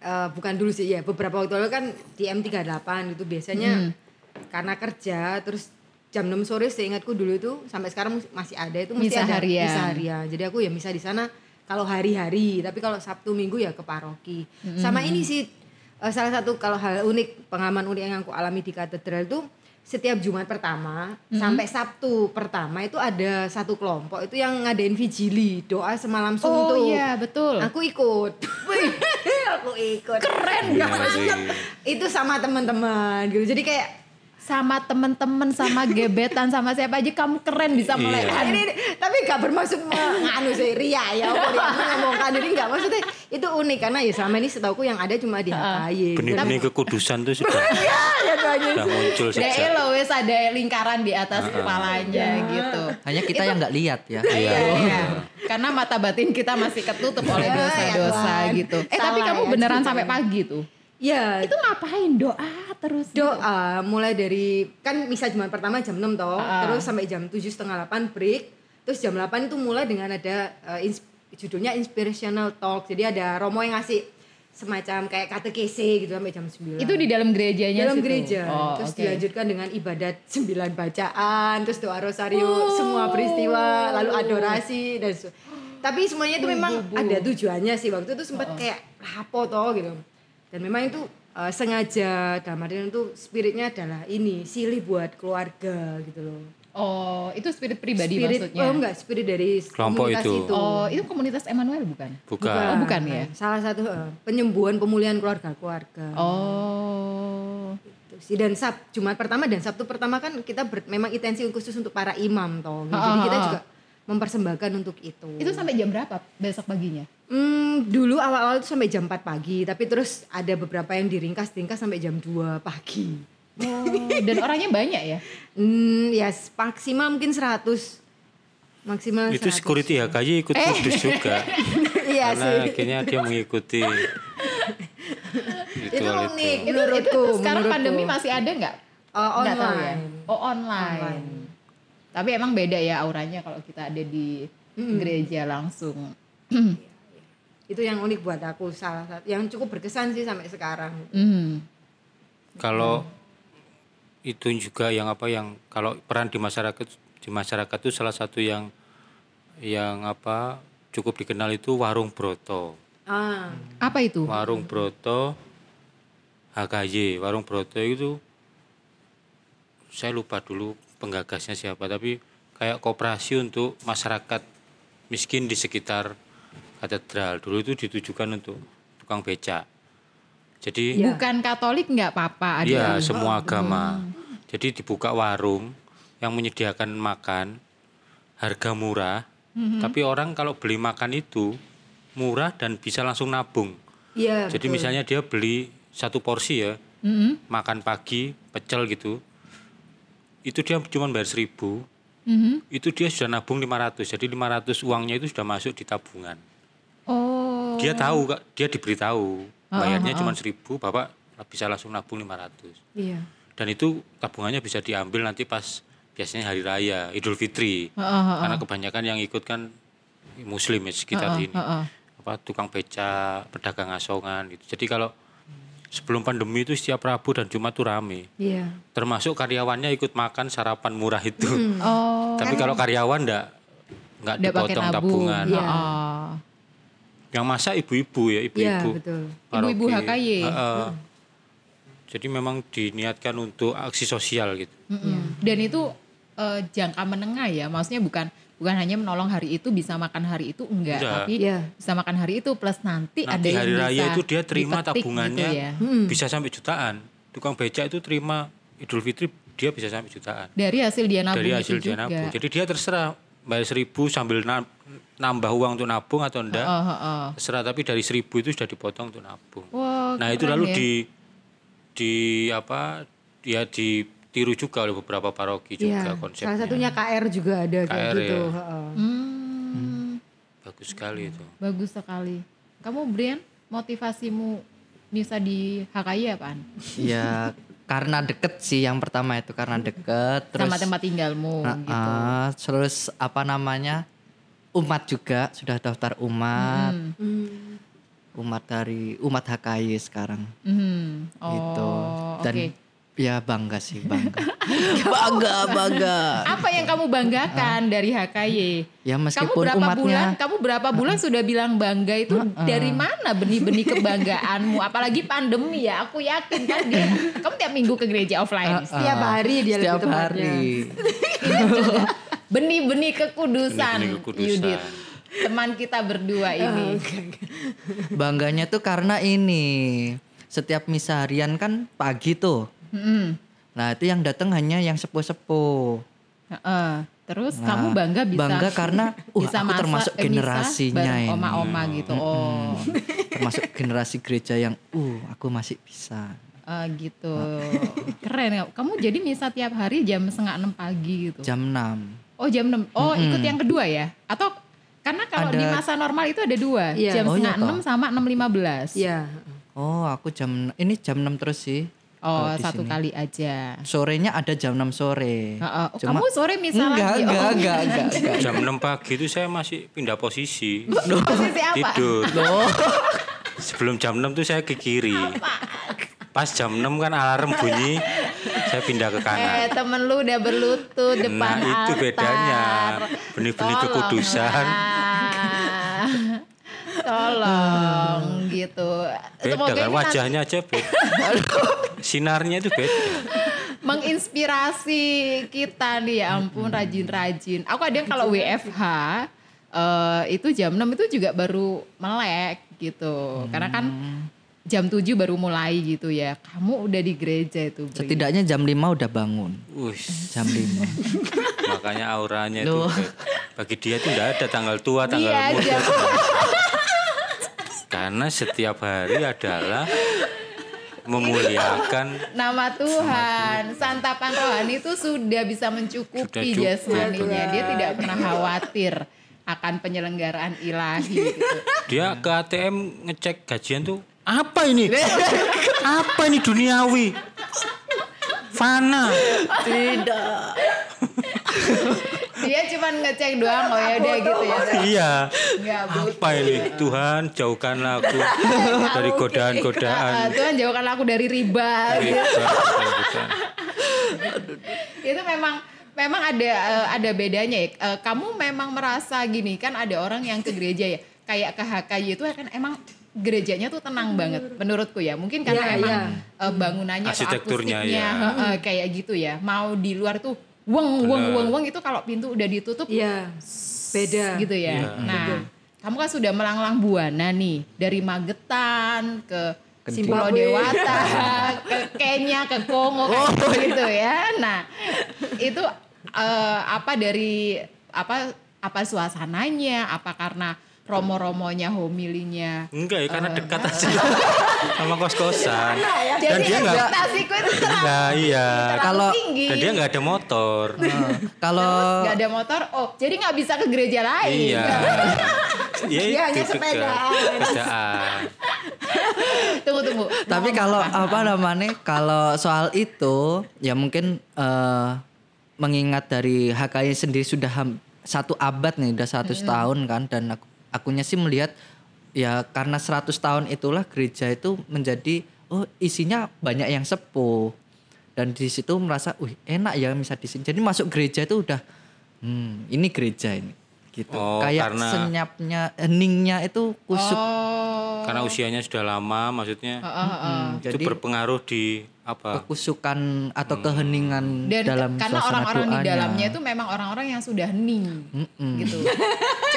D: eh, bukan dulu sih ya. Beberapa waktu lalu kan di M38 gitu biasanya karena kerja terus jam 6 sore seingatku dulu itu sampai sekarang mus- masih ada itu mesti
A: Misa
D: ada
A: harian.
D: misa harian. Jadi aku ya misa di sana kalau hari-hari, tapi kalau Sabtu Minggu ya ke paroki. Sama ini sih eh, salah satu kalau hal unik pengalaman unik yang aku alami di katedral itu setiap Jumat pertama sampai Sabtu pertama itu ada satu kelompok itu yang ngadain vigili, doa semalam suntuk.
A: oh iya betul
D: Aku ikut. aku ikut. Keren
B: Iya sih.
D: Itu sama teman-teman gitu. Jadi kayak
A: sama temen-temen sama gebetan sama siapa aja kamu keren bisa
B: Iya.
A: melekan
D: ini, ini- tapi gak bermaksud menganu sih ria ya apa ria, menyombongkan diri gak maksudnya itu unik karena ya selama ini setauku yang ada cuma di gitu. HKY
B: benih-benih kekudusan tuh sudah
D: ya tuh aja.
B: sudah muncul
A: Dae
B: sejak
A: lo wes ada lingkaran di atas kepalanya gitu
C: Hanya kita yang nggak lihat ya.
B: Iya.
A: Iya. Karena mata batin kita masih ketutup oleh
D: Ya, ya,
A: dosa-dosa
D: Tuhan.
A: gitu. Iya, Eh tapi
D: Salah
A: kamu
D: ya,
A: beneran
D: ceritanya.
A: sampai pagi tuh.
D: ya
A: Itu ngapain doa terus?
D: doa ah, mulai dari kan misa Jumat pertama jam 6 toh
A: Ah.
D: terus sampai jam 7 setengah 8 break terus jam 8 itu mulai dengan ada eh, ins- judulnya inspirational talk jadi ada Romo yang ngasih semacam kayak katekese gitu sampai jam 9
A: Itu di dalam gerejanya
D: dalam
A: situ?
D: gereja
A: Oh,
D: terus
A: oke.
D: dilanjutkan dengan ibadat sembilan bacaan terus doa rosario
A: Oh.
D: semua peristiwa lalu adorasi dan se- tapi semuanya itu memang ada tujuannya sih waktu itu sempat
A: Oh.
D: kayak lapo toh gitu dan memang itu eh, sengaja dalam artian itu spiritnya adalah ini silih buat keluarga gitu loh
A: Oh, itu spirit pribadi
D: spirit
A: maksudnya.
D: oh enggak spirit dari
B: Kelompok
D: komunitas
B: itu.
A: Oh, itu komunitas Emmanuel bukan?
B: bukan
A: Oh, bukan ya?
D: salah satu eh, penyembuhan pemulihan keluarga keluarga
A: Oh.
D: Gitu sih. dan Sab Jumat pertama dan Sabtu pertama kan kita ber- memang intensi khusus untuk para imam toh gitu.
A: Ha,
D: jadi
A: ha,
D: kita
A: ha.
D: juga mempersembahkan untuk itu
A: Itu sampai jam berapa besok paginya?
D: Hmm, dulu awal-awal itu sampai jam 4 pagi tapi terus ada beberapa yang diringkas ringkas sampai jam 2 pagi
A: Oh, dan orangnya banyak ya?
D: hmm, ya s- maksimal mungkin 100 maksimal
B: itu
D: 100.
B: security HKY ikut kudus juga
D: Eh. iya
B: karena
D: sih
B: akhirnya dia mengikuti
D: itu
B: ritual
D: unik
A: Itu, itu,
D: menurutku
A: itu sekarang
D: menurutku.
A: pandemi masih ada nggak?
D: Eh,
A: Nggak tahu ya?
D: online
A: Oh online.
D: Online.
A: Tapi emang beda ya auranya kalau kita ada di gereja langsung.
D: itu yang unik buat aku salah satu yang cukup berkesan sih sampai sekarang
A: Hmm.
B: kalau itu juga yang apa yang kalau peran di masyarakat di masyarakat itu salah satu yang yang apa cukup dikenal itu warung broto
D: ah
A: Apa itu?
B: warung broto HKY warung broto itu saya lupa dulu penggagasnya siapa tapi kayak koperasi untuk masyarakat miskin di sekitar katedral dulu itu ditujukan untuk tukang becak jadi
A: Bukan Katolik nggak apa-apa Ya, ada.
B: Iya, semua agama. Jadi dibuka warung yang menyediakan makan harga murah. Tapi orang kalau beli makan itu murah dan bisa langsung nabung.
D: iya
B: Jadi
D: betul.
B: misalnya dia beli satu porsi ya, makan pagi pecel gitu. Itu dia cuma bayar seribu,
A: Mhm.
B: itu dia sudah nabung 500. Jadi 500 uangnya itu sudah masuk di tabungan.
A: Oh.
B: Dia tahu, Kak, dia diberitahu bayarnya cuma seribu, Bapak bisa langsung nabung 500
D: iya
B: dan itu tabungannya bisa diambil nanti pas biasanya hari raya Idul
A: Heeh,
B: Fitri
A: heeh,
B: karena kebanyakan yang ikut kan muslim ya sekitar
A: heeh,
B: ini
A: heeh.
B: apa tukang becak pedagang asongan gitu jadi kalau sebelum pandemi itu setiap Rabu dan Jumat tuh rame
D: iya
B: termasuk karyawannya ikut makan sarapan murah itu
A: Oh.
B: tapi kalau karyawan ndak nggak
A: Nggak pakai
B: dipotong
A: nabung.
B: tabungan
D: Iya.
A: Oh.
B: yang masa ibu-ibu ya
D: Iya
B: ibu-ibu
D: betul.
A: Ibu-ibu
B: Paroki.
A: HKY.
B: Heeh.
A: Hmm.
B: jadi memang diniatkan untuk aksi sosial gitu
D: Iya.
A: Mm-mm. Dan itu eh, jangka menengah ya, maksudnya bukan bukan hanya menolong hari itu bisa makan hari itu enggak,
B: Enggak.
A: tapi
D: Iya.
A: bisa makan hari itu plus nanti, ada
B: Nanti
A: yang
B: hari
A: bisa
B: raya itu dia terima
A: dipetik
B: tabungannya
A: gitu ya.
B: bisa sampai jutaan. Tukang becak itu terima Idul Fitri dia bisa sampai jutaan
A: dari hasil dia nabung
B: dari
A: itu
B: hasil dia
A: juga.
B: nabung. Jadi dia terserah bayar seribu sambil na- nambah uang untuk nabung atau enggak.
A: Oh, oh, oh.
B: Terserah tapi dari seribu itu sudah dipotong untuk nabung.
A: Wah,
B: nah itu
A: keren
B: lalu
A: ya.
B: di di apa ya ditiru juga oleh beberapa paroki juga
D: Iya.
B: konsepnya.
D: Salah satunya KR juga ada kayak
B: KR,
D: gitu.
B: ya.
D: heeh.
A: Hmm,
B: Bagus sekali itu.
A: bagus sekali. Kamu Brian, motivasimu bisa di HKI apaan?
C: Ya karena deket sih yang pertama itu karena deket terus
A: Sama tempat tinggalmu gitu.
C: Ah, terus apa namanya umat juga sudah daftar umat
D: Hmm.
A: Mm-hmm.
C: umat dari umat HKY sekarang
A: Mhm. Oh,
C: gitu dan
A: oke.
C: ya bangga sih bangga bangga bangga
A: Apa yang kamu banggakan dari HKY?
C: Ah. ya
A: Kamu
C: meskipun
A: berapa
C: umatnya Ah,
A: bulan? Kamu berapa bulan sudah bilang bangga itu dari mana benih-benih kebanggaanmu? Apalagi pandemi ya, aku yakin kan dia. Kamu tiap minggu ke gereja offline.
C: Ah,
D: Setiap hari dia
C: setiap
D: lebih tepatnya.
C: hari
A: Benih-benih kekudusan,
B: Benih-benih kekudusan.
A: Yudit. Teman kita berdua ini.
C: Ah, bangganya tuh karena ini setiap misa harian kan pagi tuh
A: Mm-mm.
C: Nah, itu yang datang hanya yang sepuh-sepuh.
A: Heeh. terus
C: Nah,
A: kamu bangga bisa
C: bangga karena, "Wah, aku
A: masak-
C: termasuk
A: eh, bisa
C: generasinya
A: bareng
C: ini."
A: oma-oma gitu. Oh,
C: Termasuk generasi gereja yang uh, aku masih bisa.
A: eh, gitu. Keren ya. Kamu jadi misa tiap hari jam setengah enam pagi gitu.
C: Jam 6.
A: Oh, jam 6. Oh, ikut yang kedua ya? Atau karena kalau
C: Ada-
A: di masa normal itu ada dua,
D: Iya.
A: jam
C: Oh, iya,
A: setengah
C: toh.
A: enam sama enam lima belas.
D: Iya.
C: Oh, aku jam ini jam 6 terus sih.
A: Oh,
C: Kalau di
A: satu
C: sini.
A: kali aja.
C: Sorenya ada jam 6 sore.
A: Heeh. Oh,
C: Cuma-
A: kamu sore misa
C: enggak,
A: lagi.
C: enggak,
A: Oh,
C: enggak, enggak, enggak.
B: Jam 6 pagi itu saya masih pindah posisi.
A: Posisi apa?
B: Tidur. Sebelum jam 6 tuh saya ke kiri. Pas jam 6 kan alarm bunyi, saya pindah
A: Eh,
B: ke kanan.
A: temen lu udah berlutut depan
B: Nah, itu
A: altar.
B: bedanya. Benih-benih
A: Tolonglah.
B: kekudusan.
A: Nah, Tolong gitu.
B: Beda
A: Semoga
B: kan
A: ini
B: wajahnya aja beda. Sinarnya itu beda.
A: nanti menginspirasi kita nih ya ampun rajin-rajin. Aku ada yang kalau WFH eh, itu jam 6 itu juga baru melek gitu. Karena kan
B: Hmm.
A: jam 7 baru mulai gitu ya. Kamu udah di gereja itu. Bri.
C: Setidaknya jam 5 udah bangun.
B: Wih,
C: Jam 5.
B: makanya auranya itu
C: Loh.
B: beda. bagi dia itu enggak ada tanggal tua, tanggal
A: Iya,
B: muda.
A: jam
B: Karena setiap hari adalah memuliakan
A: nama Tuhan. Santapan rohani itu sudah bisa
B: Sudah
A: mencukupi
B: cukup,
A: jasmaninya. Dia tidak pernah khawatir akan penyelenggaraan ilahi gitu.
B: Dia ke ATM ngecek gajian tuh apa ini? apa ini duniawi? Fana.
A: Dia cuman ngecek doang oh ya udah gitu ya.
B: Iya.
A: Enggak butuh.
B: Apa ini? Tuhan jauhkanlah aku
A: Ya,
B: dari godaan-godaan. Iya,
A: Ah, Tuhan jauhkanlah aku dari riba. Itu memang memang ada eh, ada bedanya ya. Eh, kamu memang merasa gini kan ada orang yang ke gereja ya. Kayak ke HKY itu kan emang gerejanya tuh tenang banget menurutku ya. Mungkin karena
D: Iya,
A: emang
D: iya.
A: eh, bangunannya atau
B: Arsitekturnya,
A: akustiknya,
B: ya.
A: heeh, kayak gitu ya. Mau di luar tuh weng weng weng weng itu kalau pintu udah ditutup
D: Iya. Beda.
A: gitu ya.
B: Iya.
A: Nah, kamu kan sudah melanglang buana nih dari Magetan ke Pulau
D: Zimbabwe.
A: Dewata, ke Kenya, ke Kongo
B: Oh,
A: kayak
B: iya.
A: gitu ya. Nah, itu eh, apa dari apa apa suasananya? Apa karena romo-romonya, homilinya?
B: Enggak ya karena dekat aja sama kos-kosan. Dan
A: ya. Jadi
B: dia enggak
A: ekspektasiku itu terlalu,
B: Nah, iya.
A: terlalu
C: Kalau-
A: tinggi.
B: Dan dia enggak ada motor.
C: Kalau
A: Nggak ada motor, oh jadi nggak bisa ke gereja lain.
B: Iya. Ya
D: Dia hanya
B: itu juga.
D: sepedaan.
B: Sepedaan.
A: Tunggu tunggu.
C: Tapi kalau apa namanya? Kalau soal itu ya mungkin eh, mengingat dari HKI sendiri sudah ham- satu abad nih, udah satu tahun kan dan aku, akunya sih melihat ya karena 100 tahun itulah gereja itu menjadi oh isinya banyak yang sepuh. Dan di situ merasa, "Wih, enak ya bisa di sini." Jadi masuk gereja itu udah hmm, ini gereja ini gitu.
B: Oh,
C: Kayak
B: karena-
C: senyapnya, heningnya itu kusuk.
A: Oh.
B: Karena usianya sudah lama maksudnya.
A: Heeh, heeh.
B: itu berpengaruh di apa?
C: kekusukan atau keheningan
A: dan
C: dalam
A: karena
C: suasana
A: orang-orang di
C: doanya.
A: dalamnya itu memang orang-orang yang sudah hening gitu.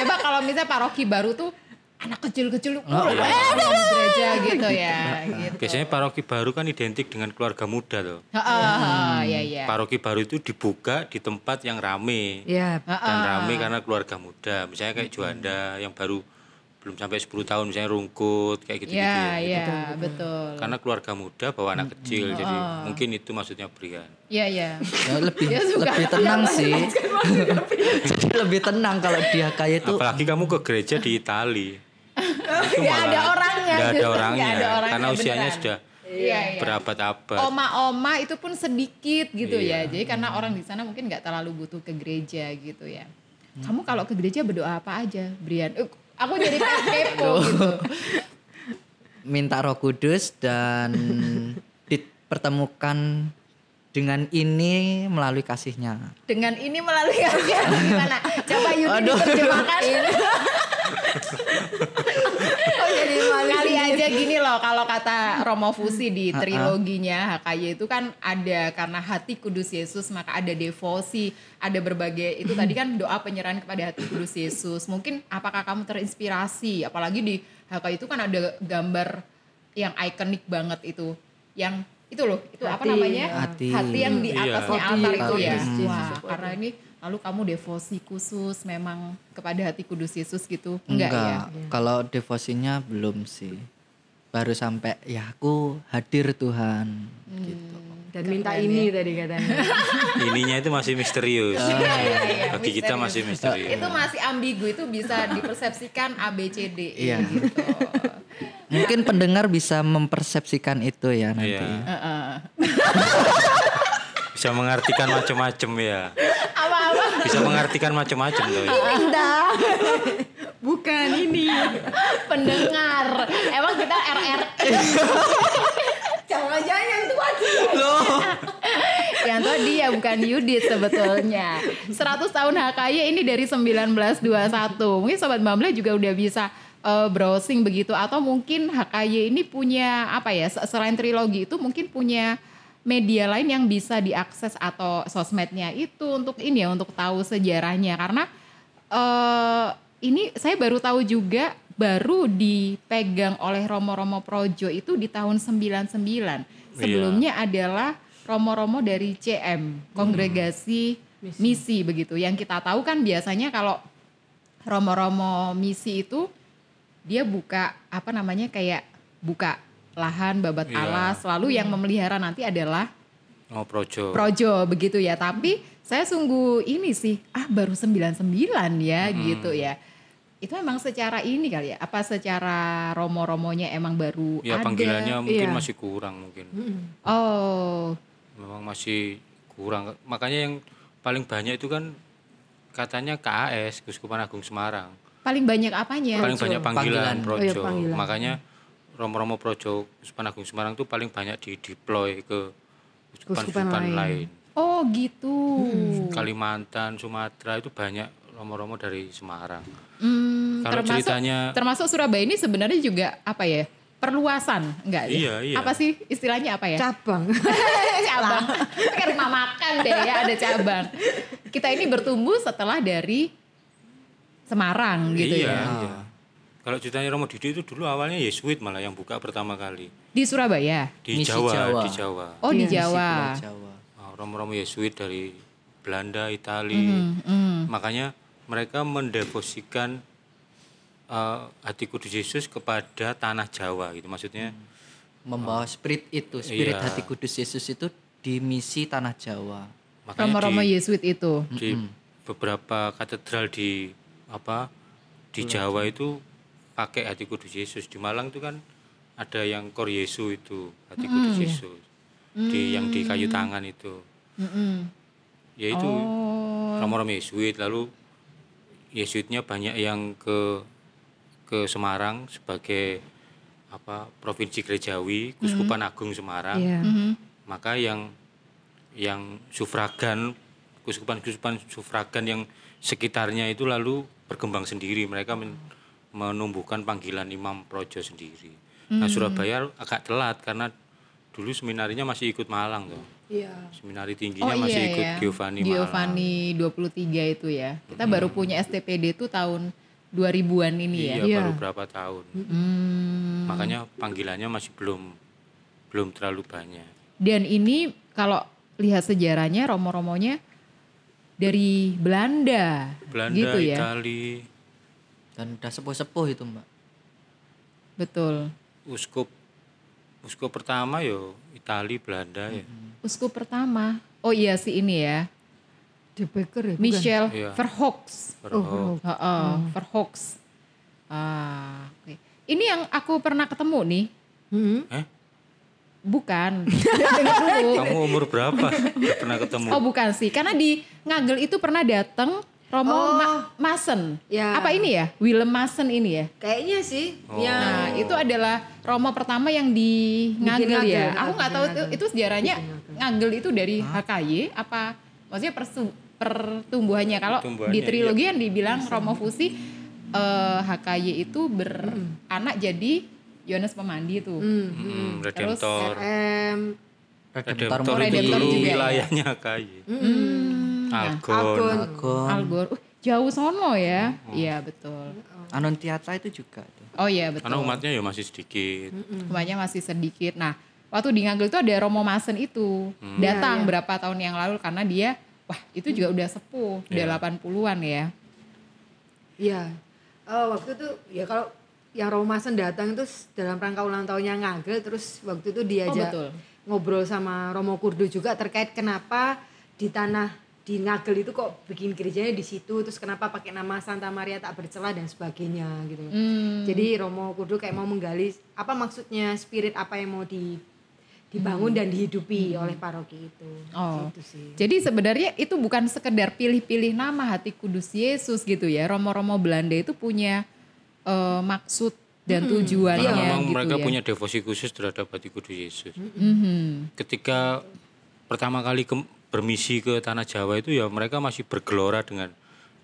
A: Coba kalau misalnya paroki baru tuh anak kecil-kecil oh,
C: iya.
A: gereja gitu ya
C: Nah,
A: gitu.
B: Biasanya paroki baru kan identik dengan keluarga muda tuh.
A: Heeh, ya ya.
B: Paroki baru itu dibuka di tempat yang rame.
D: Iya.
B: Dan rame karena keluarga muda. Misalnya kayak Juanda yang baru belum sampai 10 tahun misalnya rungkut kayak
C: gitu
B: gitu-gitu.
A: Ya
B: ya.
A: ya, betul.
B: Karena keluarga muda bawa anak kecil jadi mungkin itu maksudnya Brian.
A: Iya ya.
C: Ya, lebih
A: Dia suka-
C: lebih tenang sih. Jadi lebih tenang kalau dia kayak itu
B: Apalagi kamu ke gereja di Itali. Itu
A: Nggak ada orangnya,
B: nggak ada
A: justru nggak
B: orangnya.
A: ada orangnya,
B: Karena usianya
A: beneran.
B: sudah
A: Iya iya.
B: berabad-abad.
A: Oma-oma itu pun sedikit gitu
C: Iya.
A: ya. Jadi karena orang di sana mungkin nggak terlalu butuh ke gereja gitu ya.
C: Hmm.
A: Kamu kalau ke gereja berdoa apa aja, Brian? Eh, Aku jadi kepo gitu.
C: minta Roh Kudus dan dipertemukan dengan ini melalui kasihnya.
A: dengan ini melalui kalian gimana? Coba Yudi diterjemahkan.
D: Oh, jadi malu
A: Kali aja gini loh kalau kata Romo Fusi di triloginya HKY itu kan ada karena hati kudus Yesus maka ada devosi, ada berbagai itu tadi kan doa penyerahan kepada hati kudus Yesus. Mungkin apakah kamu terinspirasi apalagi di HKY itu kan ada gambar yang ikonik banget itu yang itu loh, itu apa
D: Hati.
A: namanya?
C: Hati.
A: yang di
B: Iya.
A: atasnya
D: Hati.
A: altar itu ya.
D: Hati.
A: Wah,
D: Yesus.
A: karena ini lalu kamu devosi khusus memang kepada hati kudus Yesus gitu.
C: Enggak,
A: Enggak, ya.
C: kalau devosinya belum sih. Baru sampai ya aku hadir Tuhan gitu.
A: Hmm.
D: Dan minta
A: Keren
D: ini tadi katanya.
B: ininya itu masih misterius
A: iya,
B: bagi kita
A: misterius.
B: masih misterius
A: Itu masih ambigu, itu bisa dipersepsikan A B C D E
C: Iya.
A: gitu.
C: Mungkin pendengar bisa mempersepsikan itu ya nanti.
B: Iya.
A: Heeh.
B: bisa mengartikan macam-macam ya
A: Apa-apa
B: bisa mengartikan macam-macam loh ya.
D: Bukan ini.
A: pendengar. Emang kita RR
D: Jangan-jangan yang tua
A: Yang tadi ya bukan Yudit sebetulnya. 100 tahun HKY ini dari 1921. Mungkin sobat Bambla juga udah bisa eh, browsing begitu atau mungkin HKY ini punya apa ya se- selain trilogi itu mungkin punya media lain yang bisa diakses atau sosmednya itu untuk ini ya untuk tahu sejarahnya karena eh ini saya baru tahu juga baru dipegang oleh Romo-Romo Projo itu di tahun 99. Sebelumnya adalah Romo-Romo dari CM, Kongregasi misi. begitu. Yang kita tahu kan biasanya kalau Romo-Romo misi itu dia buka apa namanya kayak buka lahan babat
B: Iya.
A: alas lalu yang memelihara nanti adalah
B: oh projo
A: Projo begitu ya. Tapi saya sungguh ini sih, ah baru 99 ya
B: Hmm.
A: gitu ya. Itu emang secara ini kali ya, apa secara romo-romonya emang baru
B: ya
A: ada.
B: panggilannya mungkin
D: iya.
B: masih kurang mungkin
A: Oh,
B: memang masih kurang makanya yang paling banyak itu kan katanya KAS Guskupan Agung Semarang
A: paling banyak apanya?
B: paling banyak panggilan,
C: Panggilan.
B: projo
D: Oh iya, panggilan.
B: makanya romo-romo projo Guskupan Agung Semarang itu paling banyak di deploy ke
D: Guskupan
B: Guskupan-Guskupan lain.
D: lain.
A: Oh, gitu.
B: Hmm. Kalimantan Sumatera itu banyak romo-romo dari Semarang
A: Hmm,
B: kalau
A: termasuk
B: ceritanya
A: termasuk Surabaya ini sebenarnya juga apa ya? Perluasan enggak ya?
B: Iya, iya.
A: Apa sih istilahnya apa ya?
D: Cabang.
A: cabang. Kayak rumah makan deh ya ada cabang. Kita ini bertumbuh setelah dari Semarang gitu
B: iya,
A: ya.
B: iya. Kalau ceritanya Romo Didi itu dulu awalnya Yesuit malah yang buka pertama kali
A: Di Surabaya.
B: di
C: Misi
B: Jawa,
C: Jawa.
B: Iya, di Jawa.
A: Oh di
C: Di Pulau
A: Jawa.
C: Jawa.
B: Oh, Romo-romo Yesuit dari Belanda, Itali. Makanya mereka mendevosikan eh, hati kudus Yesus kepada tanah Jawa gitu. Maksudnya
C: Mm-hmm. Membawa spirit itu, spirit
B: Ah. Iya.
C: hati kudus Yesus itu di misi tanah Jawa.
B: makanya
A: Romo-romo
B: di,
A: Yesuit itu.
B: di beberapa katedral di apa di Jawa itu pakai hati kudus Yesus. Di Malang itu kan ada yang Kor Yesu itu, hati kudus Yesus. Di yang di kayu tangan itu. Ya
A: Mm-mm.
B: yaitu romo-romo Yesuit lalu Yesuitnya banyak yang ke ke Semarang sebagai apa provinsi gerejawi Kuskupan Agung Semarang
D: Iya.
B: maka yang yang sufragan kuskupan-kuskupan sufragan yang sekitarnya itu lalu berkembang sendiri mereka men- menumbuhkan panggilan imam projo sendiri
D: Mm-hmm.
B: nah Surabaya agak telat karena dulu seminarinya masih ikut Malang tuh
D: Iya.
B: seminari
A: Oh
B: tingginya masih ikut
A: ya.
B: Giovanni, Hmm. Malang.
A: Giovanni 23 itu ya. Kita baru punya STPD itu tahun 2000-an ini ya.
B: Iya,
D: Iya.
B: baru berapa tahun.
A: Hmm.
B: Makanya panggilannya masih belum belum terlalu banyak.
A: Dan ini kalau lihat sejarahnya romo-romonya dari Belanda,
B: Belanda,
A: gitu ya.
B: Itali,
C: Dan udah sepuh-sepuh itu, Mbak.
D: Hmm.
A: Betul.
B: uskup uskup pertama yo Itali, Belanda ya.
A: Uskup pertama. Oh iya si ini ya.
D: De Becker ya? bukan?
A: Michel Oh,
B: Iya.
A: Verhoeks.
B: Berhok.
D: Oh.
A: Heeh, Verhoeks. Ah, oke. Ini yang aku pernah ketemu nih.
D: Hmm.
B: Eh,
A: Bukan. Dengar dulu.
B: kamu umur berapa? Gak pernah ketemu.
A: Oh bukan sih. Karena di Ngagel itu pernah datang Romo
D: Oh.
A: Ma- Masen.
D: Ya.
A: Apa ini ya? Willem Masen ini ya?
D: Kayaknya sih.
B: Oh.
D: Yang
A: Nah, itu adalah Romo pertama yang di Ngagel
D: Ngagel,
A: ya.
D: tetap
A: Aku nggak
D: di
A: tahu itu,
D: Ngagel.
A: itu sejarahnya Ngagel itu dari HKY apa maksudnya persu- pertumbuhannya kalau di
B: Pertumbuhannya,
A: trilogi yang dibilang Romo Fusi eh, HKY itu beranak jadi Yohanes Pemandi itu.
B: Hmm,
A: Terus
B: Redemptor.
D: RM
B: Redemptor itu
A: Redemptor
B: dulu
A: juga ya.
B: wilayahnya KAI. Algon.
D: Algon.
C: Agon,
A: Algor. Uh, jauh sono ya. Iya, betul.
C: Anuntiata itu juga. tuh.
A: Oh iya, betul.
B: Karena umatnya ya masih sedikit.
A: Umatnya masih sedikit. Nah, waktu di Ngagel itu ada Romo Masen itu
B: Hmm. Iya,
A: datang berapa tahun yang lalu karena dia wah itu juga udah sepuh
B: Iya.
A: udah 80-an ya.
D: Iya. Eh, waktu itu ya kalau yang Romasen datang itu s- dalam rangka ulang tahunnya Ngagel terus waktu itu
A: Oh,
D: diajak
A: betul.
D: ngobrol sama Romo Kurdo juga terkait kenapa di tanah di Ngagel itu kok bikin gerejanya di situ terus kenapa pakai nama Santa Maria tak bercela dan sebagainya gitu.
A: Hmm.
D: Jadi Romo Kudu kayak mau menggali apa maksudnya spirit apa yang mau di dibangun dan dihidupi oleh paroki itu.
A: Hmm. Oh.
D: Gitu sih.
A: Jadi sebenarnya itu bukan sekedar pilih-pilih nama hati kudus Yesus gitu ya. Romo-romo Belanda itu punya eh, maksud dan tujuannya
B: Hmm. Karena memang
A: gitu
B: mereka
A: ya.
B: punya devosi khusus terhadap hati kudus Yesus.
A: Mhm.
B: Ketika pertama kali ke- bermisi ke tanah Jawa itu ya mereka masih bergelora dengan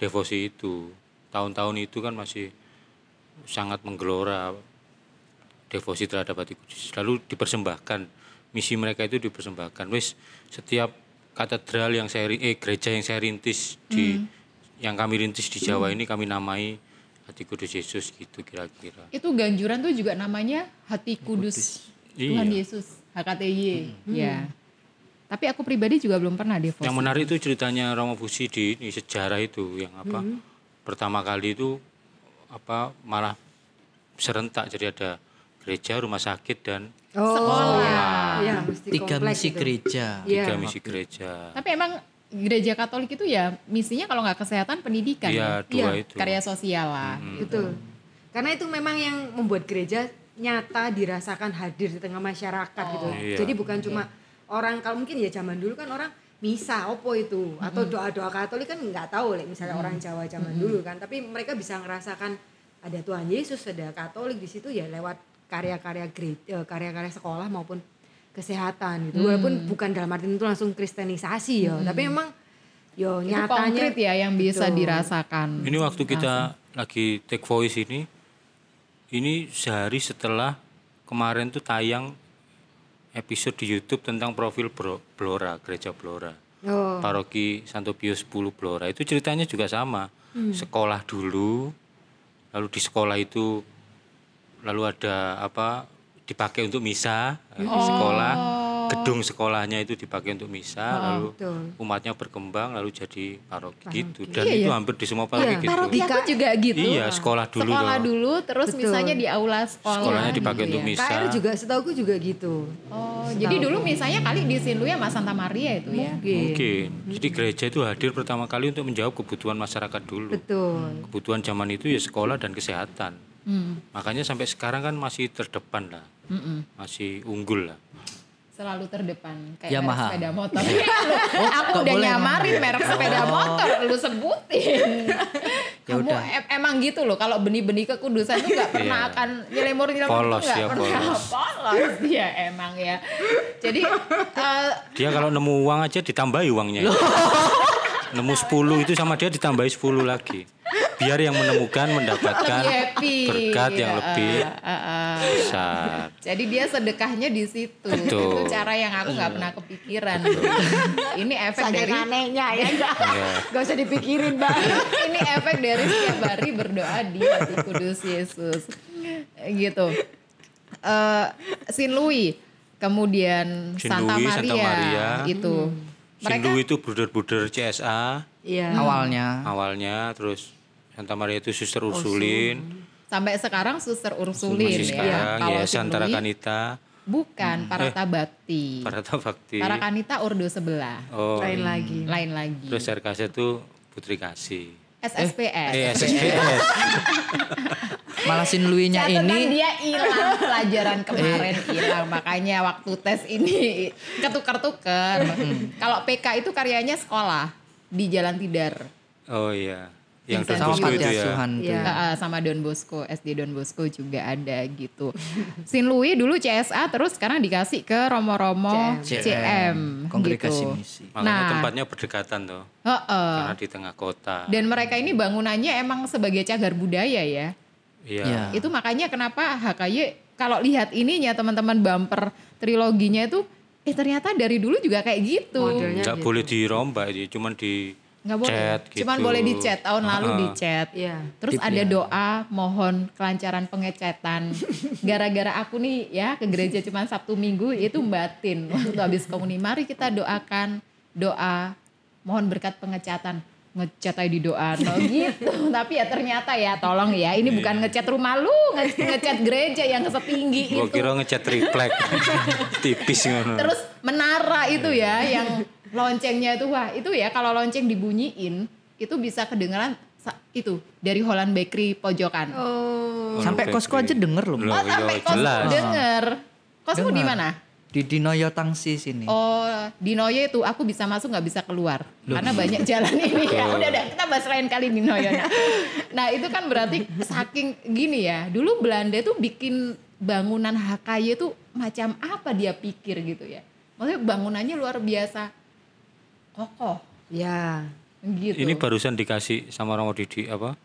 B: devosi itu. Tahun-tahun itu kan masih sangat menggelora devosi terhadap hati kudus. Lalu dipersembahkan misi mereka itu dipersembahkan. Wis setiap katedral yang saya ri- eh gereja yang saya rintis di
A: Mm-hmm.
B: yang kami rintis di Jawa ini kami namai hati kudus Yesus gitu kira-kira.
A: Itu ganjuran tuh juga namanya hati kudus, Tuhan
B: Iya. Hmm.
A: Yesus HKTY ya. Tapi aku pribadi juga belum pernah devosi.
B: Yang menarik itu ceritanya Romo Fusi di, di sejarah itu yang apa pertama kali itu apa malah serentak jadi ada gereja, rumah sakit dan
D: Oh,
A: Sekolah.
D: Iya, mesti
C: tiga
D: kompleks
C: misi
D: itu.
C: gereja
D: Iya.
B: tiga misi gereja.
A: Tapi emang gereja Katolik itu ya misinya kalau nggak kesehatan pendidikan ya.
B: Iya, dua
D: Iya,
B: itu.
A: karya sosial lah.
D: Betul. Gitu. Karena itu memang yang membuat gereja nyata dirasakan hadir di tengah masyarakat gitu.
B: Iya.
D: Jadi bukan cuma orang kalau mungkin ya zaman dulu kan orang misa opo itu atau doa-doa Katolik kan nggak tahu like, misalnya orang Jawa zaman dulu kan, tapi mereka bisa ngerasakan ada Tuhan Yesus, ada Katolik di situ ya lewat karya-karya gereja, eh, karya-karya sekolah maupun kesehatan gitu. Walaupun bukan dalam arti itu langsung kristenisasi ya, tapi memang yo
A: Itu
D: nyatanya
A: konkret ya yang bisa
D: Betul.
A: dirasakan.
B: Ini waktu kita lagi take voice ini ini sehari setelah kemarin tuh tayang episode di YouTube tentang profil Bro- Blora, gereja Blora.
D: Oh,
B: paroki Santo Pius 10 Blora itu ceritanya juga sama sekolah dulu lalu di sekolah itu lalu ada apa dipakai untuk misa eh, sekolah gedung sekolahnya itu dipakai untuk misa lalu
D: betul.
B: umatnya berkembang lalu jadi paroki gitu dan itu hampir di semua paroki gitu
A: Paroki aku juga gitu.
B: iya sekolah dulu
A: sekolah
B: loh.
A: dulu terus
D: Betul.
A: misalnya di aula sekolah
B: sekolahnya
A: gitu
B: dipakai untuk
A: ya.
B: misa
D: KR juga setauku juga gitu.
A: oh jadi dulu misalnya kali di Sinlu ya Mas Santa Maria itu ya
D: Iya.
B: mungkin jadi gereja itu hadir pertama kali untuk menjawab kebutuhan masyarakat dulu
D: Betul.
B: kebutuhan zaman itu ya sekolah dan kesehatan.
A: Hmm.
B: Makanya sampai sekarang kan masih terdepan lah, masih unggul lah.
A: selalu terdepan kayak
C: Yamaha.
A: merek sepeda motor Iya, lu. aku
C: kok
A: udah
C: boleh Iya. Oh.
A: nyamarin merek sepeda motor lu sebutin
C: Ya
A: kamu
C: udah.
A: em- emang gitu loh kalau benih-benih kekudusan tuh gak pernah
B: Iya.
A: akan nyelemur nyelemur
B: Polos
A: nggak
B: ya,
A: pernah
B: polos.
A: polos dia emang ya jadi eh,
B: Dia kalau nemu uang aja ditambahi uangnya. nemu 10 itu sama dia ditambahi 10 lagi. Biar yang menemukan mendapatkan
A: lebih happy
B: berkat yang
A: Ya,
B: lebih
A: eh, eh, eh.
B: besar.
A: Jadi dia sedekahnya di situ.
B: Betul.
A: Itu cara yang aku
C: Iya.
A: nggak pernah kepikiran. ini efek
D: Saking
A: dari
D: anehnya ya enggak.
B: Ya.
D: Gak usah dipikirin, Mbak.
A: ini efek dari setiap hari berdoa di hati kudus Yesus. Gitu. Eh Sin Louis, kemudian
B: Saint
A: Santa,
B: Louis,
A: Maria, gitu.
B: Santa Maria.
A: itu. Mereka
B: Sindu itu bruder-bruder CSA
D: Iya.
C: awalnya
B: awalnya, terus Santa Maria itu suster Ursulin,
A: sampai sekarang Suster Oh, Ursulin
B: masih
A: ya.
B: sekarang
A: Kalau
B: Yayasan
A: Saint Louis,
B: Tarakanita,
A: bukan
B: Hmm.
A: Parata Bakti.
B: Parata Bakti.
A: Tarakanita Ordo sebelah.
B: Oh,
D: Lain lagi.
A: Lain lagi.
B: Terus RKS itu Putri Kasih.
A: SSPS.
B: Eh, SSPS.
C: malah sinluinya
A: Catatan
C: ini
A: dia
C: Iya.
A: hilang pelajaran kemarin hilang makanya waktu tes ini ketukar-tukar.
C: Hmm.
A: Kalau PK itu karyanya sekolah di Jalan Tidar
C: Hmm.
B: Oh iya. Yang
A: Vincent
B: Don
C: sama
B: Bosco
C: panti
B: itu ya.
C: asuhan tuh.
D: Iya.
A: Eh, eh, sama Don Bosco SD Don Bosco juga ada gitu. Sin Louis dulu CSA terus sekarang dikasih ke Romo-Romo CM,
C: kongregasi
A: gitu.
C: misi
B: Makanya
A: Nah.
B: tempatnya berdekatan tuh.
A: Heeh.
B: Karena
C: Eh.
B: di tengah kota.
A: Dan mereka ini bangunannya emang sebagai cagar budaya ya.
B: Iya.
C: Iya.
A: Itu makanya kenapa HKY kalau lihat ininya teman-teman bumper triloginya itu eh ternyata dari dulu juga kayak gitu.
D: Modelnya
B: Nggak
D: gitu.
B: boleh dirombak sih, cuman di
A: Nggak boleh.
B: Chat gitu.
A: Cuman boleh di chat tahun lalu
B: Ha-ha.
A: di chat.
D: Iya.
A: Terus
C: Tips
A: ada
C: ya.
A: doa mohon kelancaran pengecetan. Gara-gara aku nih ya ke gereja cuma Sabtu Minggu itu batin. Waktu itu habis komuni mari kita doakan doa mohon berkat pengecatan ngecat aja di doa no, gitu tapi ya ternyata ya tolong ya
B: Iya.
A: ini bukan ngecat rumah lu nge- ngecat gereja yang setinggi
B: Gua
A: itu
B: kira ngecat triplek. Tipis ngono.
A: Terus
B: Iya,
A: menara itu ya yang loncengnya itu wah itu ya kalau lonceng dibunyiin itu bisa kedengeran sa- itu dari Holland Bakery pojokan. Oh,
D: Oh.
B: Waduh,
C: Sampai kosku
B: Febri.
C: aja denger loh. Mbak.
B: Loh, iya,
A: sampai kosmu
B: jelas.
A: denger. Kosmu di
C: Denger.
A: mana?
C: Di Dinoyo Tangsi sini.
A: Oh di Noyo itu aku bisa masuk nggak bisa keluar karena banyak jalan ini ya. Udah udah kita bahas lain kali di Noyo. Nah. Nah, itu kan berarti saking gini ya. Dulu Belanda itu bikin bangunan HKY itu macam apa dia pikir gitu ya. Maksudnya bangunannya luar biasa kokoh
D: Ya.
A: gitu.
B: Ini barusan dikasih sama Romo Didi apa?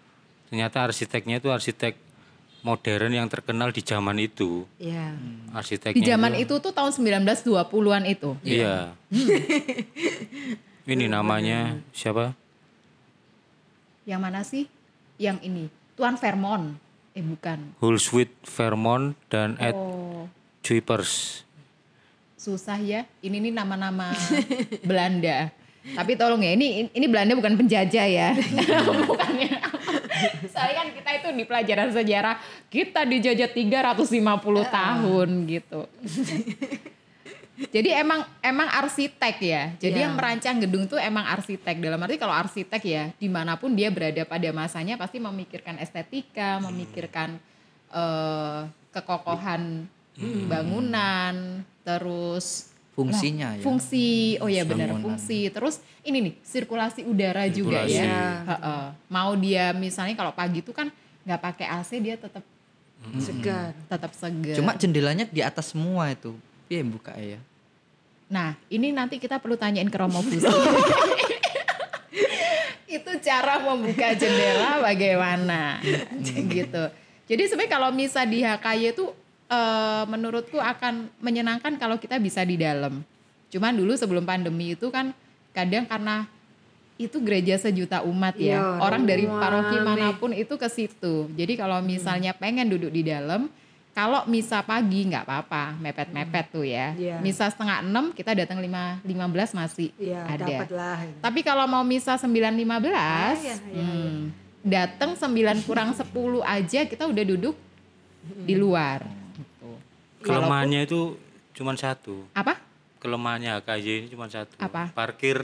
B: Ternyata arsiteknya itu arsitek modern yang terkenal di zaman itu.
D: Ya.
C: Hmm.
B: Arsiteknya
A: di zaman itu tuh tahun 1920-an itu.
B: Iya. Hmm. Ini namanya siapa?
A: Yang mana sih? Yang ini. Tuan Vermont. Eh bukan.
B: Hulswit Vermont dan Ed
A: Oh.
B: Kuipers.
A: susah ya. Ini nih nama-nama Belanda. Tapi tolong ya, ini ini Belanda bukan penjajah ya. Bukannya. Soalnya kan kita itu di pelajaran sejarah, kita dijajah 350 tahun gitu. Jadi emang emang arsitek ya. Jadi
D: Iya.
A: yang merancang gedung tuh emang arsitek. Dalam arti kalau arsitek ya, dimanapun dia berada pada masanya pasti memikirkan estetika,
C: Hmm.
A: memikirkan eh, kekokohan
C: Hmm.
A: bangunan, terus Nah,
C: Fungsinya ya.
A: fungsi. Oh ya benar
C: Bangunan.
A: fungsi. Terus ini nih sirkulasi udara juga ya.
B: Sirkulasi.
D: Iya.
A: Heeh. Mau dia misalnya kalau pagi itu kan nggak pakai AC dia tetap
D: Segar.
A: tetap
D: iya.
A: segar.
C: Cuma jendelanya di atas semua itu. Piye buka ya?
A: Nah, ini nanti kita perlu tanyain ke Romo Bus. itu cara membuka jendela bagaimana gitu. Jadi sebenarnya kalau misa di HKY itu eh, menurutku akan menyenangkan kalau kita bisa di dalam. Cuman dulu sebelum pandemi itu kan kadang karena itu gereja sejuta umat ya.
D: Iya,
A: Orang dari
D: orang
A: paroki
D: rame.
A: manapun itu ke situ. Jadi kalau
D: Hmm.
A: misalnya pengen duduk di dalam, kalau misa pagi nggak apa-apa, mepet-mepet tuh ya.
D: Iya.
A: Misa setengah enam kita datang lima lima belas masih
D: Ya,
A: ada.
D: dapat lah.
A: Tapi kalau mau misa sembilan lima belas,
D: Ah, iya, iya,
A: hmm, datang sembilan kurang sepuluh aja kita udah duduk
D: Hmm.
A: di luar. Gitu.
B: Kelemahannya itu cuman satu.
A: Apa?
B: Kelemahannya HKJ ini cuma satu.
A: Apa?
B: Parkir.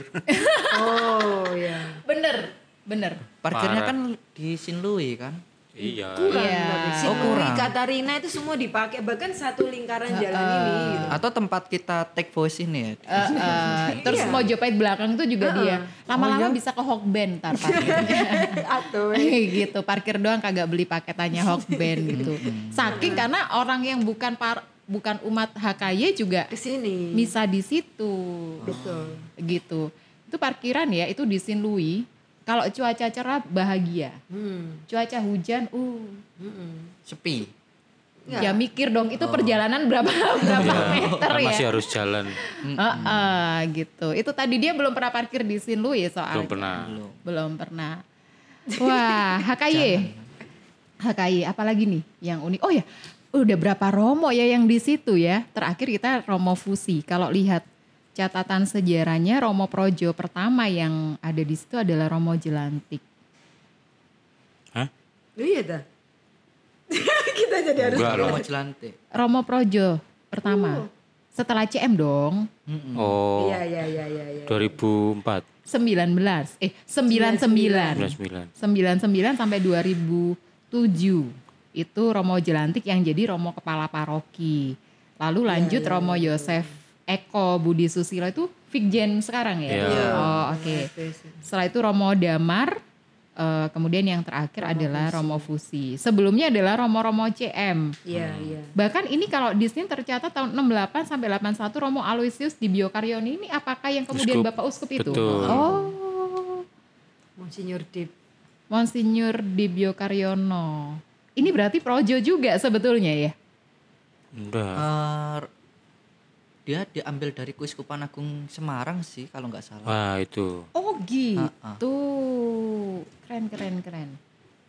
D: Oh, ya.
A: Bener, bener.
C: Parkirnya
B: Parah.
C: kan di Sinlui kan?
B: iya.
D: kurang
A: Iya.
D: tapi
A: Oh,
D: Sinui,
C: kurang.
D: Katarina itu semua dipakai bahkan satu lingkaran jalan ini gitu.
C: Atau tempat kita take voice ini ya?
A: Eh, eh,
D: Iya.
A: terus mau jepit belakang tuh
D: Ah,
A: juga dia.
D: Oh,
A: Lama-lama bisa ke Hokben ntar parkirnya.
D: atau eh,
A: gitu parkir doang kagak beli paketannya Hokben gitu saking karena orang yang bukan par, bukan umat HKY juga
D: ke sini
A: misa di situ
D: betul
A: gitu itu parkiran ya itu di Sinlui kalau cuaca cerah bahagia
D: hmm.
A: cuaca hujan uh
D: Mm-mm.
C: Sepi.
D: Nggak.
A: ya mikir dong itu perjalanan berapa berapa
B: Iya,
A: meter
B: kan
A: ya
B: masih harus jalan.
A: Heeh, gitu itu tadi dia belum pernah parkir di Sinlui soalnya
B: Belum pernah.
A: Belum pernah. Wah, HKY. HKY, apalagi nih yang unik. Oh ya, udah berapa Romo ya yang di situ ya? Terakhir kita Romo Fusi. Kalau lihat catatan sejarahnya Romo Projo pertama yang ada di situ adalah Romo Jelantik.
B: Hah?
D: Lu iya dah kita jadi harus
B: Enggak loh.
C: Kalau mau jelantik.
A: Romo Projo pertama. Setelah CM dong.
B: Oh,
D: iya iya iya iya iya.
B: 2004,
A: 19. Eh, 99.
B: 99.
A: 99 sampai 2007 itu Romo Jelantik yang jadi Romo kepala paroki. Lalu lanjut Romo Yosef Eko Budi Susilo itu Fikjen sekarang ya.
B: Iya.
A: Oh, oke. Setelah itu Romo Damar eh, kemudian yang terakhir adalah Romo Fusi. Sebelumnya adalah Romo-Romo CM.
D: iya
B: Hmm.
D: iya
A: Bahkan ini kalau di sini tercatat tahun 68 sampai 81 Romo Aloysius di Biokaryoni ini apakah yang kemudian
B: Uskup.
A: Bapak Uskup itu?
B: Betul.
A: Oh.
D: Monsinyur Dip
A: Monsinyur Dibio Karyono. Ini berarti Projo juga sebetulnya ya?
B: Enggak.
C: Eh, dia diambil dari Kuiskupan Agung Semarang sih kalau nggak salah.
B: Wah, Ah, itu.
A: Oh Gitu. Keren keren keren.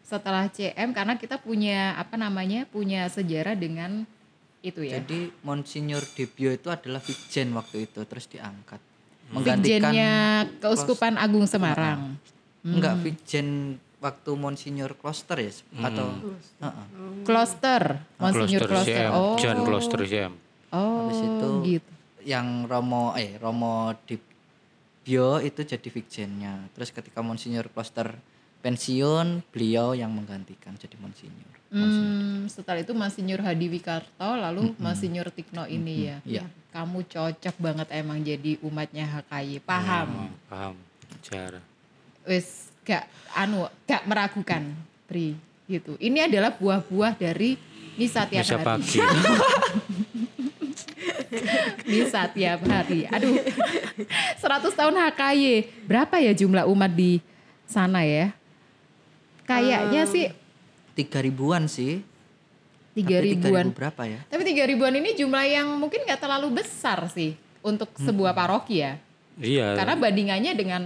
A: Setelah CM karena kita punya apa namanya? punya sejarah dengan itu ya.
C: Jadi Monsinyur Debio itu adalah Vijen waktu itu terus diangkat.
A: Sekjennya Keuskupan Agung Semarang.
C: Enggak
A: Hmm.
C: Vijen waktu Monsinyur Kloster ya se- atau Heeh.
A: Kloster,
B: Ah,
A: Monsinyur Kloster.
B: CM,
A: Oh.
B: Jan Kloster CM.
A: Oh,
C: Habis itu
A: gitu.
C: yang Romo eh Romo Debio itu jadi Vijennya. Terus ketika Monsinyur Kloster pensiun, beliau yang menggantikan jadi Monsinyur.
A: Hmm, setelah itu Monsinyur Hadi Wikarto, lalu Monsinyur Tikno ini ya.
C: Iya.
A: Kamu cocok banget emang jadi umatnya HKY, paham.
B: Hmm, paham. Sejarah.
A: Wis gak anu, gak meragukan, Pri. Gitu. Ini adalah buah-buah dari Nisa tiap
B: Bisa
A: hari.
B: pagi.
A: Nisa tiap hari. Aduh. 100 tahun HKY. Berapa ya jumlah umat di sana ya? Kayaknya sih
C: Tiga ribuan sih.
A: 3000-an.
C: Tapi 3000 berapa ya?
A: Tapi tiga ribuan ini jumlah yang mungkin nggak terlalu besar sih untuk
B: Hmm.
A: sebuah paroki ya.
B: iya.
A: Karena bandingannya dengan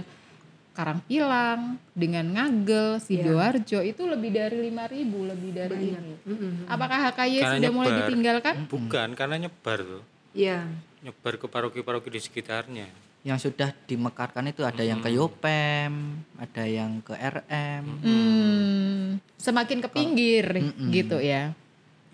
A: Karangpilang, dengan Ngagel, Sidoarjo
B: Hmm.
A: itu lebih dari lima ribu lebih dari ini.
D: Hmm,
A: Apakah HKY
B: Karena
A: sudah mulai
B: nyebar.
A: ditinggalkan?
B: Bukan, karena nyebar tuh.
D: Iya.
B: Nyebar ke paroki-paroki di sekitarnya.
C: yang sudah dimekarkan itu ada yang ke Yopem, ada yang ke RM.
A: Hmm, semakin ke pinggir
B: Hmm,
A: gitu ya.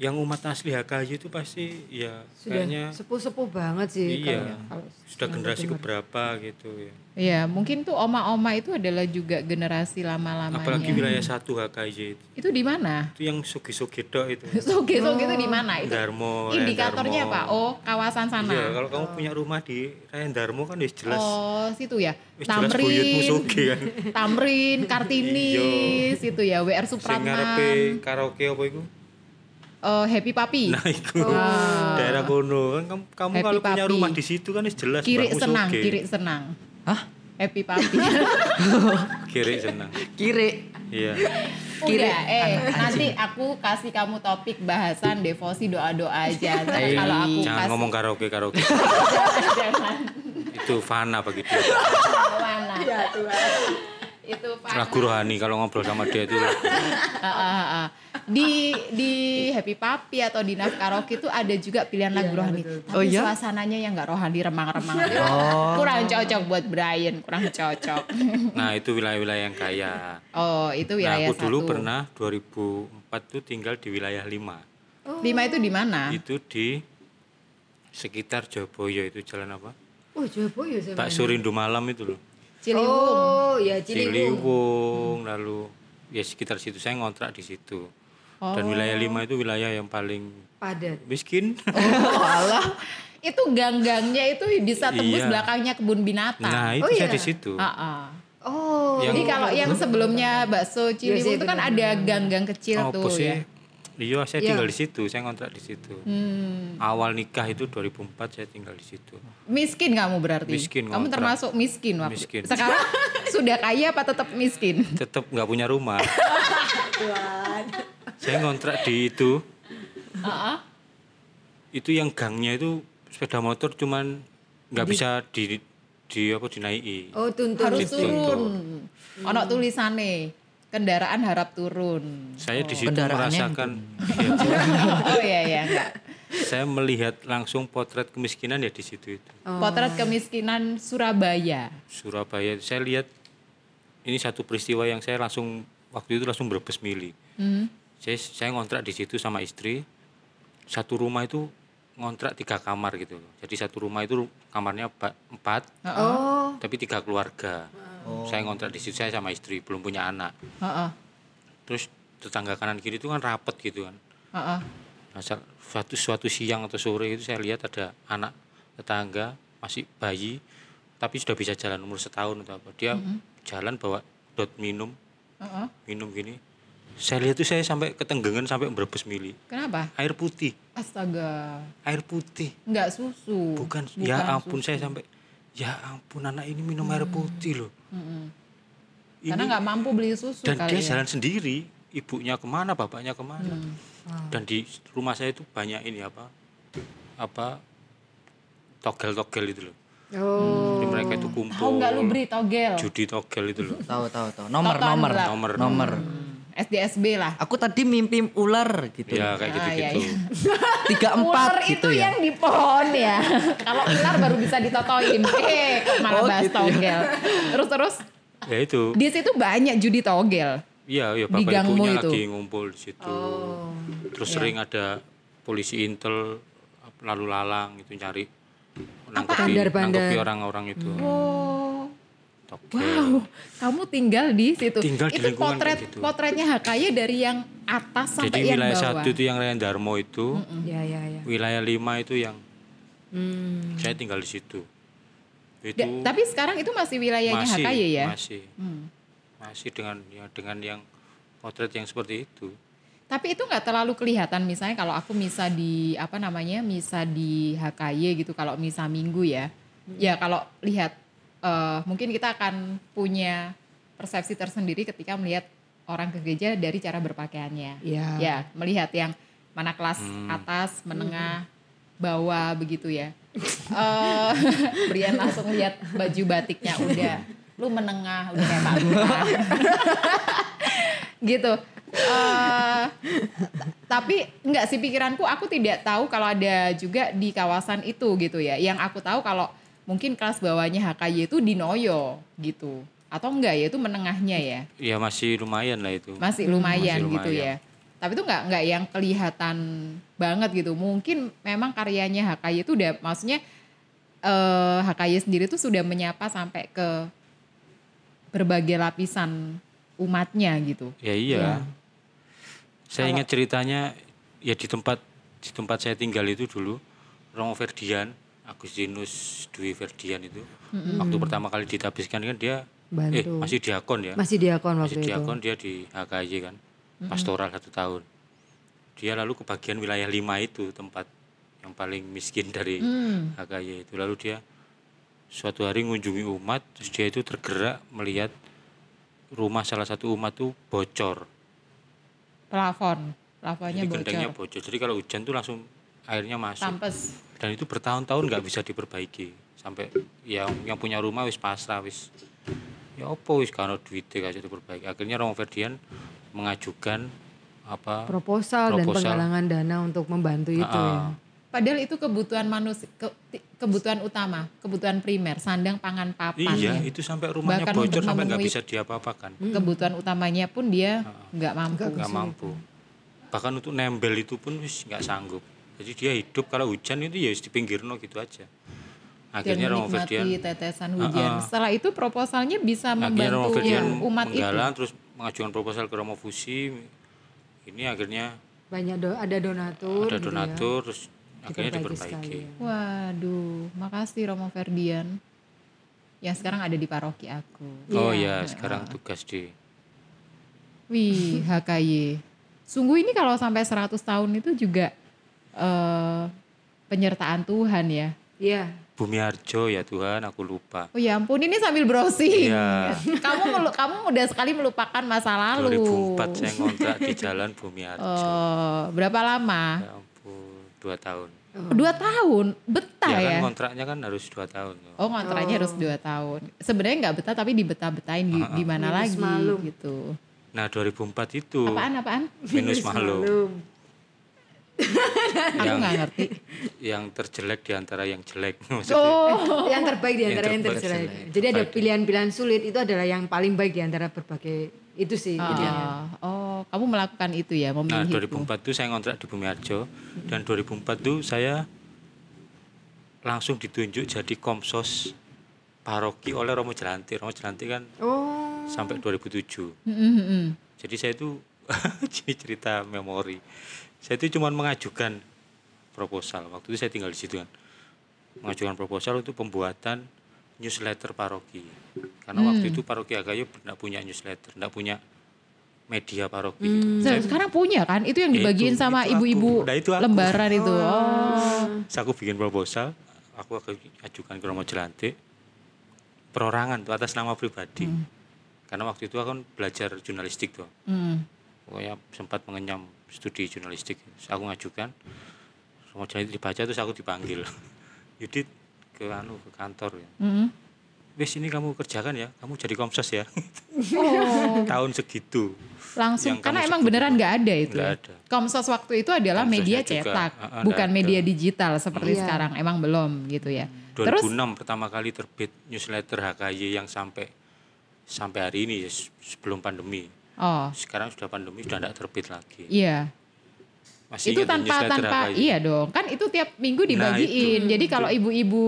B: Yang umat asli HKY itu pasti ya
D: Sudah
B: kayaknya
D: sepuh-sepuh banget sih
B: Iya.
D: kalau- kalau
B: sudah
D: yang
B: generasi
D: dengar.
B: keberapa gitu ya.
A: Ya mungkin tuh oma-oma itu adalah juga generasi
B: Apalagi
A: lama-lamanya.
B: wilayah satu HKY itu.
A: Itu di mana?
B: Itu yang sugi-sugi dok itu.
A: Soge-soge itu di mana? Itu
B: Oh, Darmo, Rayan
A: indikatornya
B: Darmo.
A: apa? Oh kawasan sana.
B: Iya, kalau kamu punya rumah di Rayan Darmo kan ya jelas.
A: Oh, situ ya.
B: Wis jelas buyutmu
A: Tamrin.
B: sugih kan. Iya.
A: Tamrin, Kartini, situ ya. WR
B: Sing
A: Supratman.
B: ngarepe karaoke apa iku?
A: eh, Happy Papi.
B: Nah, iku. Daerah kono kan kamu, kamu
A: Happy
B: kalau punya
A: Papi.
B: rumah di situ kan wis jelas
A: kiri
B: mbakmu
A: senang,
B: sugih.
A: kiri senang.
C: Hah?
A: Happy Papi.
B: Kiri senang.
C: Kiri.
B: Iya.
A: Udah, eh nanti aku kasih kamu topik bahasan devosi doa-doa aja. Ntar
C: Eh,
A: Kalau aku
B: Jangan
A: kasih
B: ngomong karaoke karaoke.
A: jangan
B: itu fana begitu.
A: lawan lah. Itu Pak.
B: Lagu rohani kalau ngobrol sama dia itu.
A: Ah, ah, ah. Di di Happy Papi atau di Naf Karaoke itu ada juga pilihan lagu rohani. Tapi
C: Oh, iya? Oh.
A: suasananya yang nggak rohani remang-remang. Kurang cocok buat Brian, kurang cocok.
B: Nah, itu wilayah-wilayah yang kaya.
A: oh, itu
B: Nah,
A: wilayah
B: aku dulu
A: satu.
B: pernah 2004 tuh tinggal di wilayah 5.
A: Lima itu di mana?
B: Itu di sekitar Joboyo itu jalan apa?
D: Oh, Joboyo zaman.
B: Pak Surindu Malam itu loh.
A: Ciliwung. Hmm.
D: Oh, ya Ciliwung.
B: Ciliwung lalu ya sekitar situ saya ngontrak di situ. Dan
A: Oh.
B: wilayah 5 itu wilayah yang paling
D: Padat.
B: miskin.
A: Oh,
B: Oh,
A: Itu gang-gangnya itu bisa tembus
B: Iya.
A: belakangnya kebun binatang.
B: Nah, itu
D: Oh,
B: saya
D: iya.
B: di situ.
A: Ah, ah.
B: Yang-
D: Oh,
B: Hmm?
A: Jadi kalau yang sebelumnya bakso Ciliwung itu kan ada gang-gang kecil
B: Apa
A: tuh
B: sih?
A: ya.
B: Oh, Iya, saya tinggal di situ, saya ngontrak di situ.
A: Hmm.
B: Awal nikah itu 2004 saya tinggal di situ.
A: Miskin kamu berarti.
B: Miskin,
A: Kamu
B: ngontrak.
A: termasuk miskin waktu.
B: Miskin.
A: Sekarang sudah kaya apa tetap miskin?
B: Tetap nggak punya rumah. saya ngontrak di itu. Itu yang gangnya itu sepeda motor cuman nggak bisa di di apa dinaiki.
D: Oh, tuntun.
A: Harus
B: Gitu.
A: turun. Ono tulisane kendaraan harap turun.
B: Saya di situ
C: Kendaraannya
B: merasakan
A: Oh iya iya enggak.
B: saya melihat langsung potret kemiskinan ya di situ itu.
A: Potret kemiskinan Surabaya.
B: Surabaya. Saya lihat ini satu peristiwa yang saya langsung waktu itu langsung berbes mili. Saya saya ngontrak di situ sama istri. Satu rumah itu ngontrak tiga kamar gitu loh. Jadi satu rumah itu kamarnya ba- empat,
D: Oh,
B: tapi tiga keluarga. Saya ngontrak di situ saya sama istri belum punya anak.
A: Heeh.
B: Terus tetangga kanan kiri itu kan rapet gitu kan.
A: Heeh.
B: Nah, sa- suatu suatu siang atau sore itu saya lihat ada anak tetangga masih bayi tapi sudah bisa jalan umur setahun atau apa. Dia
A: Mm-hmm.
B: jalan bawa dot minum,
A: Heeh.
B: minum gini. Saya lihat tuh saya sampai ketenggengan sampai berbes mili.
A: Kenapa?
B: Air putih,
A: Astaga.
B: air putih.
A: Enggak susu. Mm-hmm.
B: Bukan, ya ampun saya sampai ya ampun anak ini minum air putih loh.
A: Karena nggak mampu beli susu
B: ya, Dan
A: kali
B: dia
A: ya. Hmm,
B: jalan sendiri, ibunya kemana, bapaknya kemana. Dan di rumah saya itu banyak ini apa, apa togel-togel itu loh.
D: Oh.
B: Jadi mereka itu
A: Tahu
B: kumpul
A: nggak lu Bri togel?
B: judi togel itu loh.
C: Tahu tahu tahu. Nomor
A: Totoan
C: nomor
A: lah.
C: nomor nomor.
A: Hmm, SDSB lah.
C: Aku tadi mimpi ular gitu.
B: Ya kayak
A: Ah,
B: gitu-gitu.
A: iya,
C: Tiga
A: Ular
C: empat
A: itu
C: gitu ya.
A: yang di pohon ya. Kalau ular baru bisa ditotoin. Eh, malah
C: Oh,
A: bahas
C: gitu ya.
A: togel. Terus terus
B: Ya itu.
A: di situ banyak judi togel.
B: Iya, ya
A: Di
B: bapak
A: gangmu
B: ibunya
A: itu. Oh, ya.
B: lagi ngumpul di situ. Terus sering ada polisi intel lalu lalang itu nyari nangkepi,
D: Bandar-bandar.
B: nangkepi orang-orang itu.
A: Oh.
B: Togel.
A: Wow, kamu tinggal di situ.
B: Tinggal di
A: itu
B: lingkungan
A: potret
B: kayak gitu.
A: potretnya Hakaya dari yang atas
B: Jadi
A: sampai yang
B: wilayah
A: bawah.
B: satu itu yang Rayan Darmo itu,
D: Ya ya ya.
B: wilayah lima itu yang
D: Hmm.
B: saya tinggal di situ. Itu
A: Da- tapi sekarang itu masih wilayahnya
B: masih,
A: Hakaya ya.
B: masih, masih dengan ya, dengan yang potret yang seperti itu.
A: Tapi itu nggak terlalu kelihatan misalnya kalau aku misa di apa namanya misa di HKY gitu kalau misa minggu ya. Ya kalau lihat eh, mungkin kita akan punya persepsi tersendiri ketika melihat orang ke gereja dari cara berpakaiannya.
D: Ya.
A: Ya melihat yang mana kelas atas, menengah, bawah begitu ya. Eh, Brian langsung lihat baju batiknya udah. Lu menengah udah kayak Pak Lurah. gitu. Eh, tapi nggak sih pikiranku aku tidak tahu kalau ada juga di kawasan itu gitu ya. Yang aku tahu kalau mungkin kelas bawahnya HKY itu di Noyo gitu. Atau enggak ya itu menengahnya ya.
B: Ya masih lumayan lah itu.
A: Masih lumayan,
B: Hmm, Masih lumayan.
A: gitu ya. Tapi itu nggak nggak yang kelihatan banget gitu. Mungkin memang karyanya HKY itu udah maksudnya eh HKY sendiri tuh sudah menyapa sampai ke berbagai lapisan umatnya gitu.
B: Ya iya. Saya ingat ceritanya ya di tempat di tempat saya tinggal itu dulu Romo Ferdian, Agustinus Dwi Ferdian itu waktu pertama kali ditabiskan kan dia eh
D: Bantu.
B: masih diakon ya.
D: Masih diakon
B: Masih
D: waktu
B: diakon
D: itu.
B: dia di HKY kan. Pastoral satu tahun. Dia lalu ke bagian wilayah lima itu tempat yang paling miskin dari
D: Mm.
A: Hmm.
B: HKY itu. Lalu dia suatu hari mengunjungi umat, terus dia itu tergerak melihat rumah salah satu umat tuh bocor.
A: Plafon, plafonnya
D: Iya,
B: Jadi gentengnya
A: bocor.
B: bocor. Jadi kalau hujan tuh langsung airnya masuk.
A: Tampes.
B: Dan itu bertahun-tahun nggak bisa diperbaiki. Sampai ya yang punya rumah wis pasrah wis. Ya opo wis karena duitnya gak bisa diperbaiki. Akhirnya Romo Ferdian mengajukan apa
D: Proposal, dan
B: Proposal.
D: penggalangan dana untuk membantu itu.
B: Ah,
D: ya.
A: Padahal itu kebutuhan manusia, ke- ti- kebutuhan utama, kebutuhan primer, sandang, pangan, papan. ya.
B: Iya, itu sampai rumahnya
A: Bahkan
B: bocor
A: untuk
B: sampai nggak
A: memenuhi-
B: bisa diapa-apakan.
A: Kebutuhan utamanya pun
B: Ah.
A: dia nggak mampu.
B: nggak mampu bahkan untuk nembel itu pun wis nggak sanggup jadi dia hidup kalau hujan itu ya wis di pinggir no gitu aja
A: Dan
B: akhirnya Romo
A: menikmati
B: Ferdian
A: tetesan hujan. Setelah itu proposalnya bisa
B: akhirnya Romo
A: membantu ya,
B: Ferdian
A: umat itu.
B: menggalang terus mengajukan proposal ke Romo Fusi ini akhirnya
D: Banyak do, ada
B: ada
D: donatur. gitu ya.
B: donatur terus akhirnya
D: sekali
B: diperbaiki
D: ya.
A: Waduh, makasih Romo Ferdian. Yang sekarang ada di paroki aku.
B: oh ya sekarang tugas di
A: Wih, HKY. Sungguh ini kalau sampai 100 tahun itu juga eh, penyertaan Tuhan ya.
D: Iya.
B: Bumi Harjo ya Tuhan aku lupa
A: Oh ya ampun, ini sambil browsing.
B: Iya.
A: kamu melu- kamu udah sekali melupakan masa lalu.
B: 2004 saya ngontrak di jalan Bumi Harjo
A: Eh, berapa lama?
B: ya ampun dua tahun
A: Dua tahun, betah
B: ya
A: ya.
B: Iya. kan kontraknya kan harus dua tahun tuh.
A: Oh ngontraknya harus dua tahun. Sebenarnya nggak betah tapi dibetah-betahin di, di mana lagi gitu.
B: Nah 2004 itu
A: Apaan apaan?
B: minus malu
D: Belum.
B: Iya.
A: Aku nggak ngerti.
B: yang terjelek di antara yang jelek. Maksudnya,
A: Oh
D: Yang terbaik di antara yang
B: terbaik.
D: terjelek. Jadi ada pilihan-pilihan sulit itu adalah yang paling baik di antara berbagai itu sih. gitu ya. intinya.
A: Ah, oh kamu melakukan itu ya
B: nah
A: memilih itu.
B: 2004 itu saya ngontrak di Bumi Harjo dan 2004 itu saya langsung ditunjuk jadi komsos paroki oleh Romo Jelanti. Romo Jelanti kan
D: Oh.
B: sampai 2007.
A: Mm, mm, mm.
B: Jadi saya itu ini cerita memori. Saya itu cuma mengajukan proposal. Waktu itu saya tinggal di situ kan. Mengajukan proposal untuk pembuatan newsletter paroki. Karena waktu itu paroki Agayo tidak punya newsletter, tidak punya media paroki. gitu.
A: Nah, Sekarang punya kan? Itu yang
B: Ya,
A: dibagiin
B: itu-
A: sama
B: itu aku.
A: ibu-ibu
B: Nah, itu aku.
A: lembaran itu. Oh.
B: Terus aku bikin proposal, aku akan ajukan ke Romo Jelantik perorangan tuh atas nama pribadi.
A: Hmm.
B: Karena waktu itu aku kan belajar jurnalistik tuh.
A: Mm.
B: pokoknya sempat mengenyam studi jurnalistik Terus aku ngajukan Romo Jani dibaca terus aku dipanggil Yudit ke anu ke kantor ya.
A: Mm-mm.
B: Wis ini kamu kerjakan ya, kamu jadi komsos ya.
A: Oh,
B: Tahun segitu.
A: langsung
B: Yang kamu
A: karena emang
B: sebut
A: beneran nggak ada itu.
B: Nggak
A: ya?
B: ada.
A: Komsos waktu itu adalah
B: Komsosnya
A: media
B: juga,
A: cetak,
B: ah, ah,
A: bukan
B: nggak
A: media
B: ada.
A: digital seperti
D: Iya.
A: sekarang. Emang belum gitu ya. Terus
B: 2006 pertama kali terbit newsletter HKY yang sampai sampai hari ini ya, se- sebelum pandemi.
A: oh
B: Sekarang sudah pandemi sudah tidak terbit lagi.
A: iya.
B: Masih
A: itu
B: ingat
A: tanpa
B: newsletter
A: tanpa
B: HKY?
A: iya dong kan itu tiap minggu
B: Nah, itu. Iya.
A: dibagiin jadi kalau ibu-ibu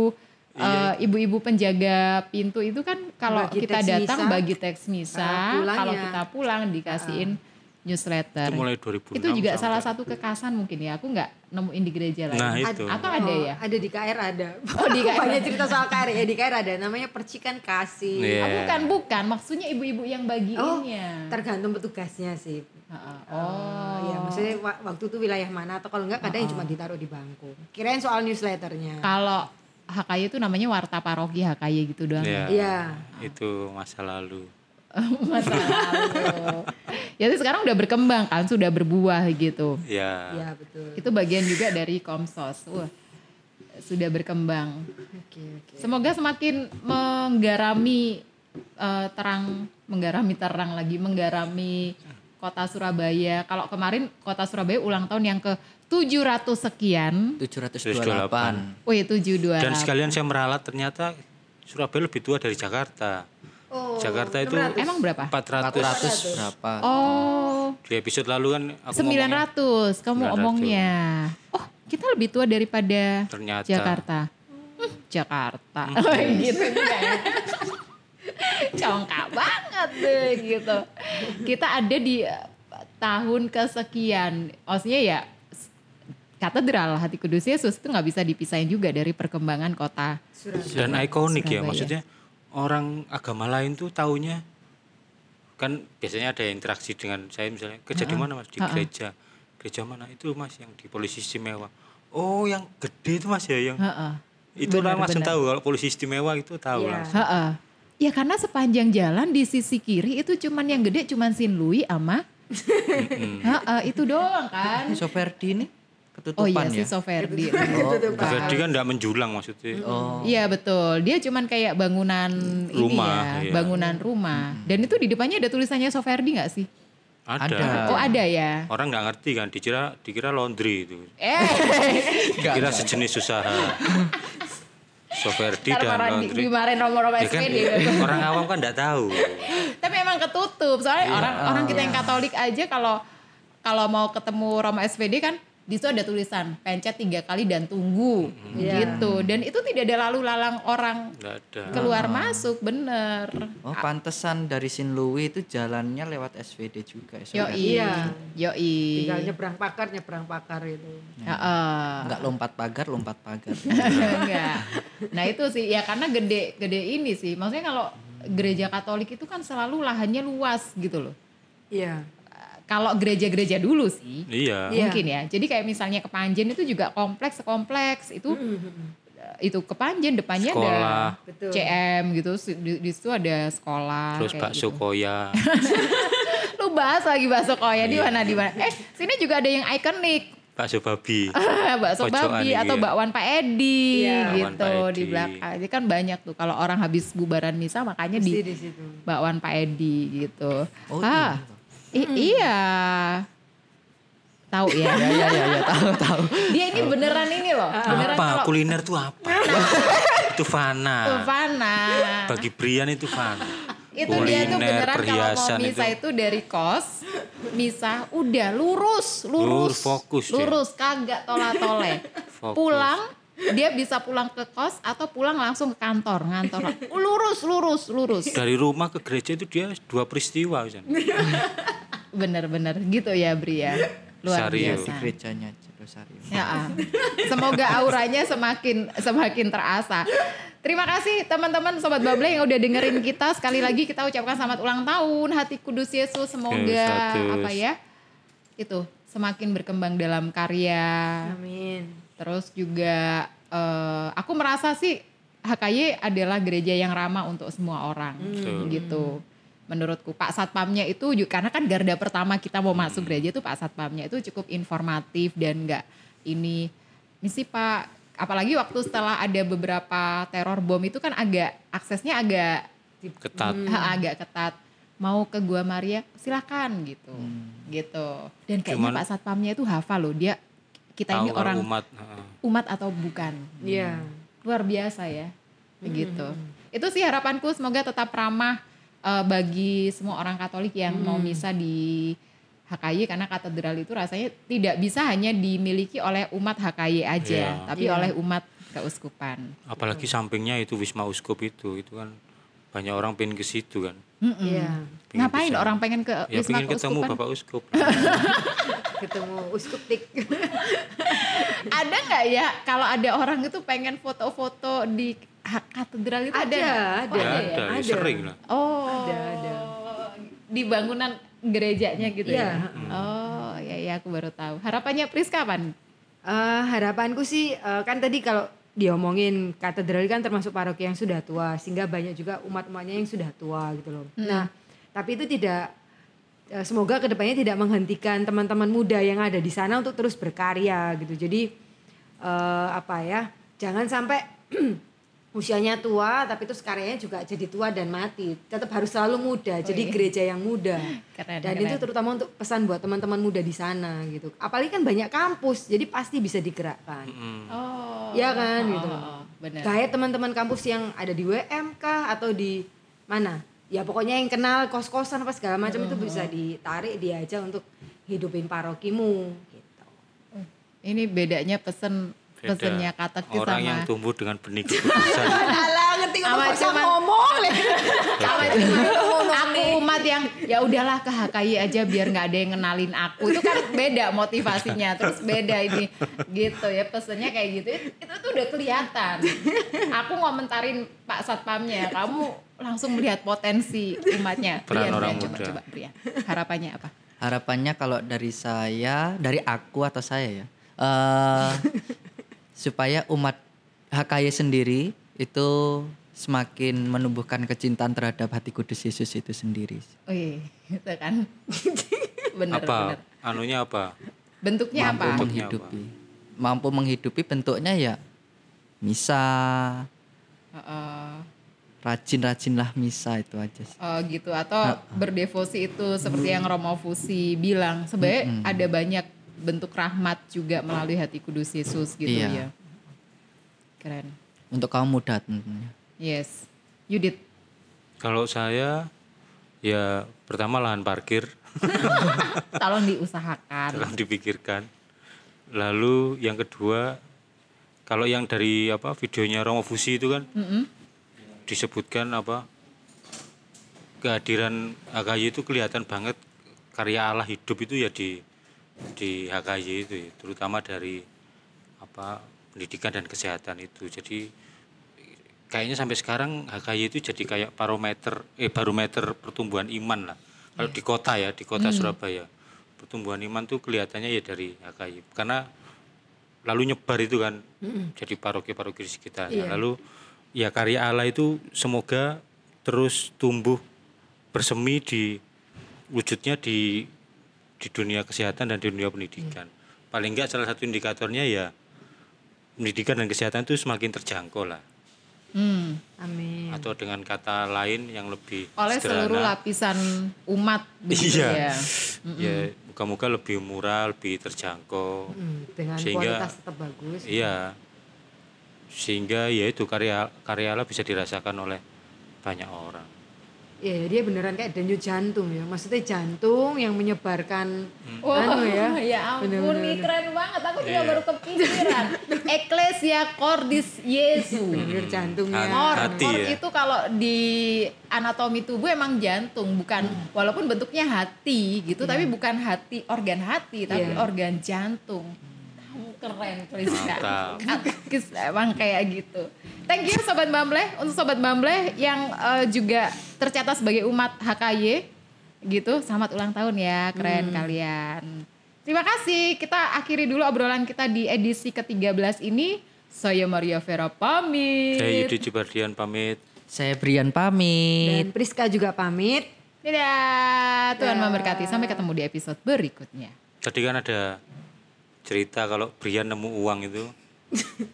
A: eh, ibu-ibu penjaga pintu itu kan kalau
D: Bagi
A: kita
D: teks
A: datang
D: misa.
A: bagi teks misa
D: Kalau pulang
A: kalau
D: ya.
A: kita pulang dikasihin
D: Ah.
A: newsletter
B: Itu mulai 2006.
A: itu juga
B: sampai-
A: salah satu kekasan mungkin ya aku nggak nemuin di gereja lagi
B: Nah, itu.
A: atau ada
D: Oh,
A: ya
D: Ada di KR ada.
A: Oh, di KR.
D: Banyak cerita soal KR ya di KR ada namanya percikan kasih.
B: Iya.
A: Ah, bukan bukan maksudnya ibu-ibu yang
D: Oh,
A: bagiinnya
D: tergantung petugasnya sih.
A: Ah, ah. oh Uh-uh.
D: ya maksudnya wa- waktu itu wilayah mana atau kalau enggak kadang yang cuma ditaruh di bangku. Kirain soal newsletternya.
A: kalau HKY itu namanya warta paroki HKY gitu doang
B: Iya.
D: Iya.
B: Itu masa lalu.
A: masa lalu. Ya itu sekarang udah berkembang kan, sudah berbuah gitu.
B: Ya.
D: Iya betul.
A: Itu bagian juga dari Komsos. Wah, sudah berkembang.
D: Oke oke.
A: Semoga semakin menggarami eh, terang, menggarami terang lagi, menggarami kota Surabaya. Kalau kemarin kota Surabaya ulang tahun yang ke 700 sekian.
C: 728.
A: Wih, 728.
B: Dan sekalian saya meralat ternyata Surabaya lebih tua dari Jakarta.
D: Oh,
B: Jakarta itu
D: 600.
A: Emang berapa?
B: 400.
C: 400 berapa?
A: Oh,
B: Di episode lalu kan aku ngomongin,
A: 900 kamu
B: 900.
A: omongnya. Oh, kita lebih tua daripada
B: ternyata
A: Jakarta. Hmm, Jakarta. gitu juga ya. Congkak banget deh gitu. Kita ada di eh, tahun kesekian. Maksudnya ya s- katedral hati kudus Yesus itu nggak bisa dipisahin juga dari perkembangan kota.
D: Surabaya.
B: dan ikonik ya
A: Surabaya.
B: maksudnya orang agama lain tuh taunya kan biasanya ada interaksi dengan saya misalnya kerja di mana mas di gereja gereja mana itu mas yang di polisi istimewa oh yang gede itu mas ya yang
A: Heeh.
B: itu orang langsung
A: benar.
B: tahu kalau polisi istimewa itu tahu
D: Iya.
B: langsung
A: Heeh. Ya karena sepanjang jalan di sisi kiri itu cuman yang gede cuman Sin Lui ama Heeh, itu doang kan.
C: Soferdi ini
A: Oh
C: ketutupan
A: iya si
C: ya.
A: Soferdi.
D: Ketutupan.
B: jadi kan tidak menjulang maksudnya
C: Oh.
A: Iya betul. Dia cuman kayak bangunan
B: Rumah,
A: ini ya,
B: iya.
A: bangunan rumah. Dan itu di depannya ada tulisannya Soferdi nggak sih?
B: ada,
C: Ada.
A: Oh ada ya.
B: orang nggak ngerti kan dikira dikira laundry itu
A: Eh,
B: dikira sejenis usaha Soferdi
A: ntar
B: dan
A: marah di-
B: laundry
A: dimarin romo-romo
B: Ya kan,
A: SPD gitu.
B: orang awam kan nggak tahu
A: Tapi emang ketutup. Soalnya orang orang kita yang Katolik aja kalau kalau mau ketemu Roma SPD kan di situ ada tulisan pencet tiga kali dan tunggu
D: Iya.
A: gitu. Dan itu tidak ada lalu lalang orang
B: nggak ada
A: keluar masuk bener.
C: Oh, pantesan dari Sinlui itu jalannya lewat SVD juga. ya, Soferdi.
A: Yoi,
D: Iya.
A: yoi.
D: Tinggal nyebrang pakar, nyebrang pakar gitu. itu.
A: Heeh.
C: Enggak lompat pagar, lompat pagar.
A: Enggak. Nah itu sih ya karena gede gede ini sih. Maksudnya kalau gereja Katolik itu kan selalu lahannya luas gitu loh.
D: Iya.
A: Kalau gereja-gereja dulu sih
B: iya
D: Iya.
A: mungkin ya. Jadi kayak misalnya Kepanjen itu juga kompleks kompleks itu eh, itu Kepanjen depannya
B: Sekolah.
A: ada
D: Hmm, Betul.
A: CM gitu Si- di, di situ ada sekolah
B: terus
A: kayak
B: bakso
A: gitu.
B: koya
A: Lu bahas lagi bakso koya
B: Iya.
A: di mana di mana. Eh sini juga ada yang ikonik
B: bakso babi
A: bakso
B: Pojokan
A: babi
B: gitu
A: atau
B: ya.
A: bakwan Pak Edi
D: Iya.
B: Bakwan
A: gitu
B: Pak
A: di
B: Edi.
A: belakang. Jadi kan banyak tuh kalau orang habis bubaran misa makanya
D: Pasti
A: di
D: di situ.
A: bakwan Pak Edi gitu.
C: Oh,
A: ah, i- iya. Tahu ya.
C: ya ya ya ya tahu tahu.
A: Dia ini beneran ini loh. Beneran
B: apa
A: kalau
B: kuliner tuh apa itu
A: tuh,
B: fana
A: Fana.
B: bagi Brian itu fana
A: Itu dia tuh beneran kalau mau misa
B: itu,
A: itu. dari kos, misa udah lurus, lurus,
B: Lurus, fokus dia.
A: lurus, kagak tola-tole.
B: Fokus.
A: Pulang dia bisa pulang ke kos atau pulang langsung ke kantor, ngantor. Lurus, lurus, lurus.
B: dari rumah ke gereja itu dia dua peristiwa Zen.
A: Ah, Bener-bener gitu ya Bria. Luar
B: Sario.
A: biasa.
C: Di gerejanya Jerosario.
A: Ya, ah. semoga auranya semakin semakin terasa. Terima kasih teman-teman sobat Bable yang udah dengerin kita. Sekali lagi kita ucapkan selamat ulang tahun hati kudus Yesus. Semoga
B: Yesus.
A: apa ya? Itu semakin berkembang dalam karya.
D: Amin.
A: Terus juga eh, aku merasa sih HKY adalah gereja yang ramah untuk semua orang
B: Betul.
A: gitu. Menurutku Pak Satpamnya itu ju- karena kan garda pertama kita mau
B: Hmm.
A: masuk gereja itu Pak Satpamnya itu cukup informatif dan enggak ini misi Pak apalagi waktu setelah ada beberapa teror bom itu kan agak aksesnya agak
B: ketat
A: ha, agak ketat. Mau ke gua Maria silahkan gitu, gitu. Dan kayaknya
B: Hmm. Cuman-
A: Pak Satpamnya itu hafal loh dia kita
B: tahu
A: ini
B: kalau
A: orang umat.
B: umat heeh.
A: atau bukan
D: Iya.
A: luar biasa ya begitu itu sih harapanku semoga tetap ramah eh, bagi semua orang Katolik yang mau misa di HKY karena katedral itu rasanya tidak bisa hanya dimiliki oleh umat HKY aja
B: Iya.
A: tapi
D: Iya.
A: oleh umat keuskupan
B: apalagi
A: Hmm.
B: sampingnya itu Wisma Uskup itu itu kan banyak orang pengen ke situ kan
A: Mm-mm.
D: Iya.
B: Pengen
A: ngapain
B: bisa.
A: orang pengen ke
B: Gitu ya
A: Eh, wisma kan?
B: pengen ketemu
A: keuskupan
B: Bapak Uskup
A: ya?
D: Ketemu uskup tik.
A: ada nggak ya kalau ada orang itu pengen foto-foto di ha- katedral itu ada,
D: Ada,
A: nggak? Oh,
B: ya
A: ada ya?
B: ada, ya
D: Ada.
B: sering lah
A: oh
D: Ada, ada.
A: di bangunan gerejanya gitu
D: Iya,
A: ya oh ya ya aku baru tahu harapannya Priska kapan
D: Eh, harapanku sih eh, kan tadi kalau diomongin katedral kan termasuk paroki yang sudah tua sehingga banyak juga umat-umatnya yang sudah tua gitu loh. Nah, tapi itu tidak eh, semoga kedepannya tidak menghentikan teman-teman muda yang ada di sana untuk terus berkarya gitu. Jadi eh, apa ya? Jangan sampai usianya tua tapi terus karyanya juga jadi tua dan mati. Tetap harus selalu muda. jadi
A: iya.
D: gereja yang muda.
A: Keren,
D: dan
A: keren.
D: itu terutama untuk pesan buat teman-teman muda di sana gitu. Apalagi kan banyak kampus, jadi pasti bisa digerakkan.
A: oh
D: Iya kan
A: oh,
D: gitu.
A: oh, oh, benar
D: Kayak teman-teman kampus yang ada di WM kah atau di mana? Ya pokoknya yang kenal kos-kosan apa segala macam itu bisa ditarik dia aja untuk hidupin parokimu gitu.
A: ini bedanya pesen
B: Beda.
A: pesennya katekis
B: orang
A: sama
B: yang tumbuh dengan benih keputusan
D: Alah ngerti
A: Sama
D: kok
A: cuman-
D: ngomong.
A: Sama cuma aku umat yang ya udahlah ke HKI aja biar nggak ada yang ngenalin aku itu kan beda motivasinya terus beda ini gitu ya pesennya kayak gitu It- itu tuh udah kelihatan aku ngomentarin Pak Satpamnya kamu langsung melihat potensi umatnya
B: Peran orang
A: Brian, coba
B: muda.
A: coba Brian harapannya apa
C: Harapannya kalau dari saya, dari aku atau saya ya, eh, supaya umat HKY sendiri itu semakin menumbuhkan kecintaan terhadap hati kudus Yesus itu sendiri.
A: oh iya gitu kan bener
B: apa
A: bener
B: anunya apa
A: bentuknya apa
B: Bentuknya
C: Mampu
B: apa?
C: menghidupi. Mampu menghidupi bentuknya ya misa,
A: Heeh.
C: rajin-rajinlah misa itu aja sih.
A: Oh gitu atau berdevosi itu seperti yang Romo Fusi bilang sebenarnya ada banyak bentuk rahmat juga melalui hati kudus Yesus gitu ya.
C: Iya.
A: Keren.
C: Untuk kaum muda tentunya.
A: Yes. Yudit.
B: kalau saya ya pertama lahan parkir
A: Tolong diusahakan.
B: Setelah dipikirkan. Lalu yang kedua, kalau yang dari apa videonya Romo Fusi itu kan disebutkan apa kehadiran HKY itu kelihatan banget karya Allah hidup itu ya di di HKY itu ya, terutama dari apa pendidikan dan kesehatan itu. Jadi kayaknya sampai sekarang HKY itu jadi kayak barometer eh barometer pertumbuhan iman lah. Kalau di kota ya, di kota Surabaya. Pertumbuhan iman tuh kelihatannya ya dari HKY. Karena lalu nyebar itu kan jadi paroki-paroki di sekitarnya. Lalu ya karya Allah itu semoga terus tumbuh bersemi di wujudnya di di dunia kesehatan dan di dunia pendidikan. Paling enggak salah satu indikatornya ya pendidikan dan kesehatan itu semakin terjangkau lah
A: Hmm.
D: Amin.
B: atau dengan kata lain yang lebih
A: Oleh seluruh
B: sederhana
A: lapisan umat begitu
B: iya
A: ya.
B: ya muka-muka lebih murah lebih terjangkau
D: Hmm, dengan
B: Sehingga-
D: kualitas tetap bagus.
B: iya sehingga ya itu karya karya Allah bisa dirasakan oleh banyak orang
D: Ya, dia beneran kayak denyut jantung ya. Maksudnya jantung yang menyebarkan
A: Wow,
D: anu ya.
A: ya ampun
D: Bener-bener.
A: nih keren banget. Aku juga baru kepikiran. Ecclesia Cordis Yesus.
D: Denyut jantungnya.
A: Kor,
B: Hati
A: kor
B: ya.
A: itu kalau di anatomi tubuh emang jantung, bukan
B: Hmm.
A: walaupun bentuknya hati
B: Iya.
A: gitu, tapi bukan hati organ hati, tapi
D: Iya.
A: organ jantung. Kamu keren, Priska.
B: Mantap.
A: Katekis emang kayak gitu. Thank you Sobat Bambleh untuk Sobat Bambleh yang eh, juga tercatat sebagai umat HKY gitu. Selamat ulang tahun ya, keren
B: Hmm.
A: kalian. Terima kasih. Kita akhiri dulu obrolan kita di edisi ke-13 ini. Saya Maria Vera pamit.
B: saya Yudi Cibardian pamit
C: Saya Brian pamit.
D: Dan Priska juga pamit.
A: Dadah. Tuhan memberkati. Sampai ketemu di episode berikutnya.
B: tadi kan ada cerita kalau Brian nemu uang itu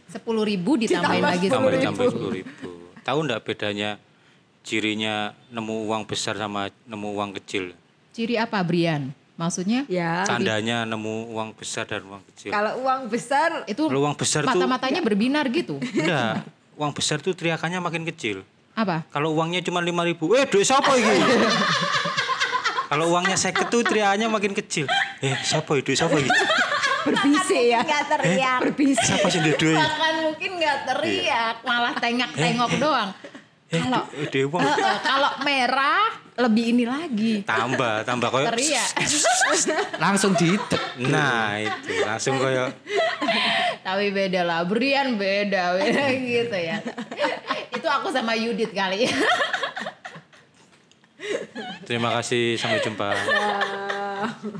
A: Sepuluh ribu ditambahin
D: Ditambah
A: lagi
B: tambah
A: 10.000.
B: tambah sepuluh ribu. Tahu nggak bedanya cirinya nemu uang besar sama nemu uang kecil?
A: Ciri apa Brian? Maksudnya
B: Iya.
D: Ya.
B: Tandanya nemu uang besar dan uang kecil.
D: Kalau uang besar
A: itu
B: Kalau uang besar tuh
A: mata-matanya berbinar gitu.
B: enggak. Uang besar tuh teriakannya makin kecil.
A: Apa?
B: Kalau uangnya cuma lima ribu, eh duit siapa ini? Kalau uangnya seket tuh teriakannya makin kecil. Eh siapa itu siapa ini?
D: berbisik ya.
E: Nggak teriak.
D: Berbisik.
B: Siapa sih duit?
A: Bahkan mungkin nggak teriak,
B: Iya.
A: malah tengok-tengok doang. Kalau
B: Eh duit uang
A: eh, eh, kalau merah lebih ini lagi.
B: tambah tambah kayak
A: Teriak.
C: langsung dihidup
B: Nah itu langsung kayak
A: Tapi beda lah, Brian beda, beda gitu ya. itu aku sama Yudit kali ya.
B: terima kasih sampai jumpa.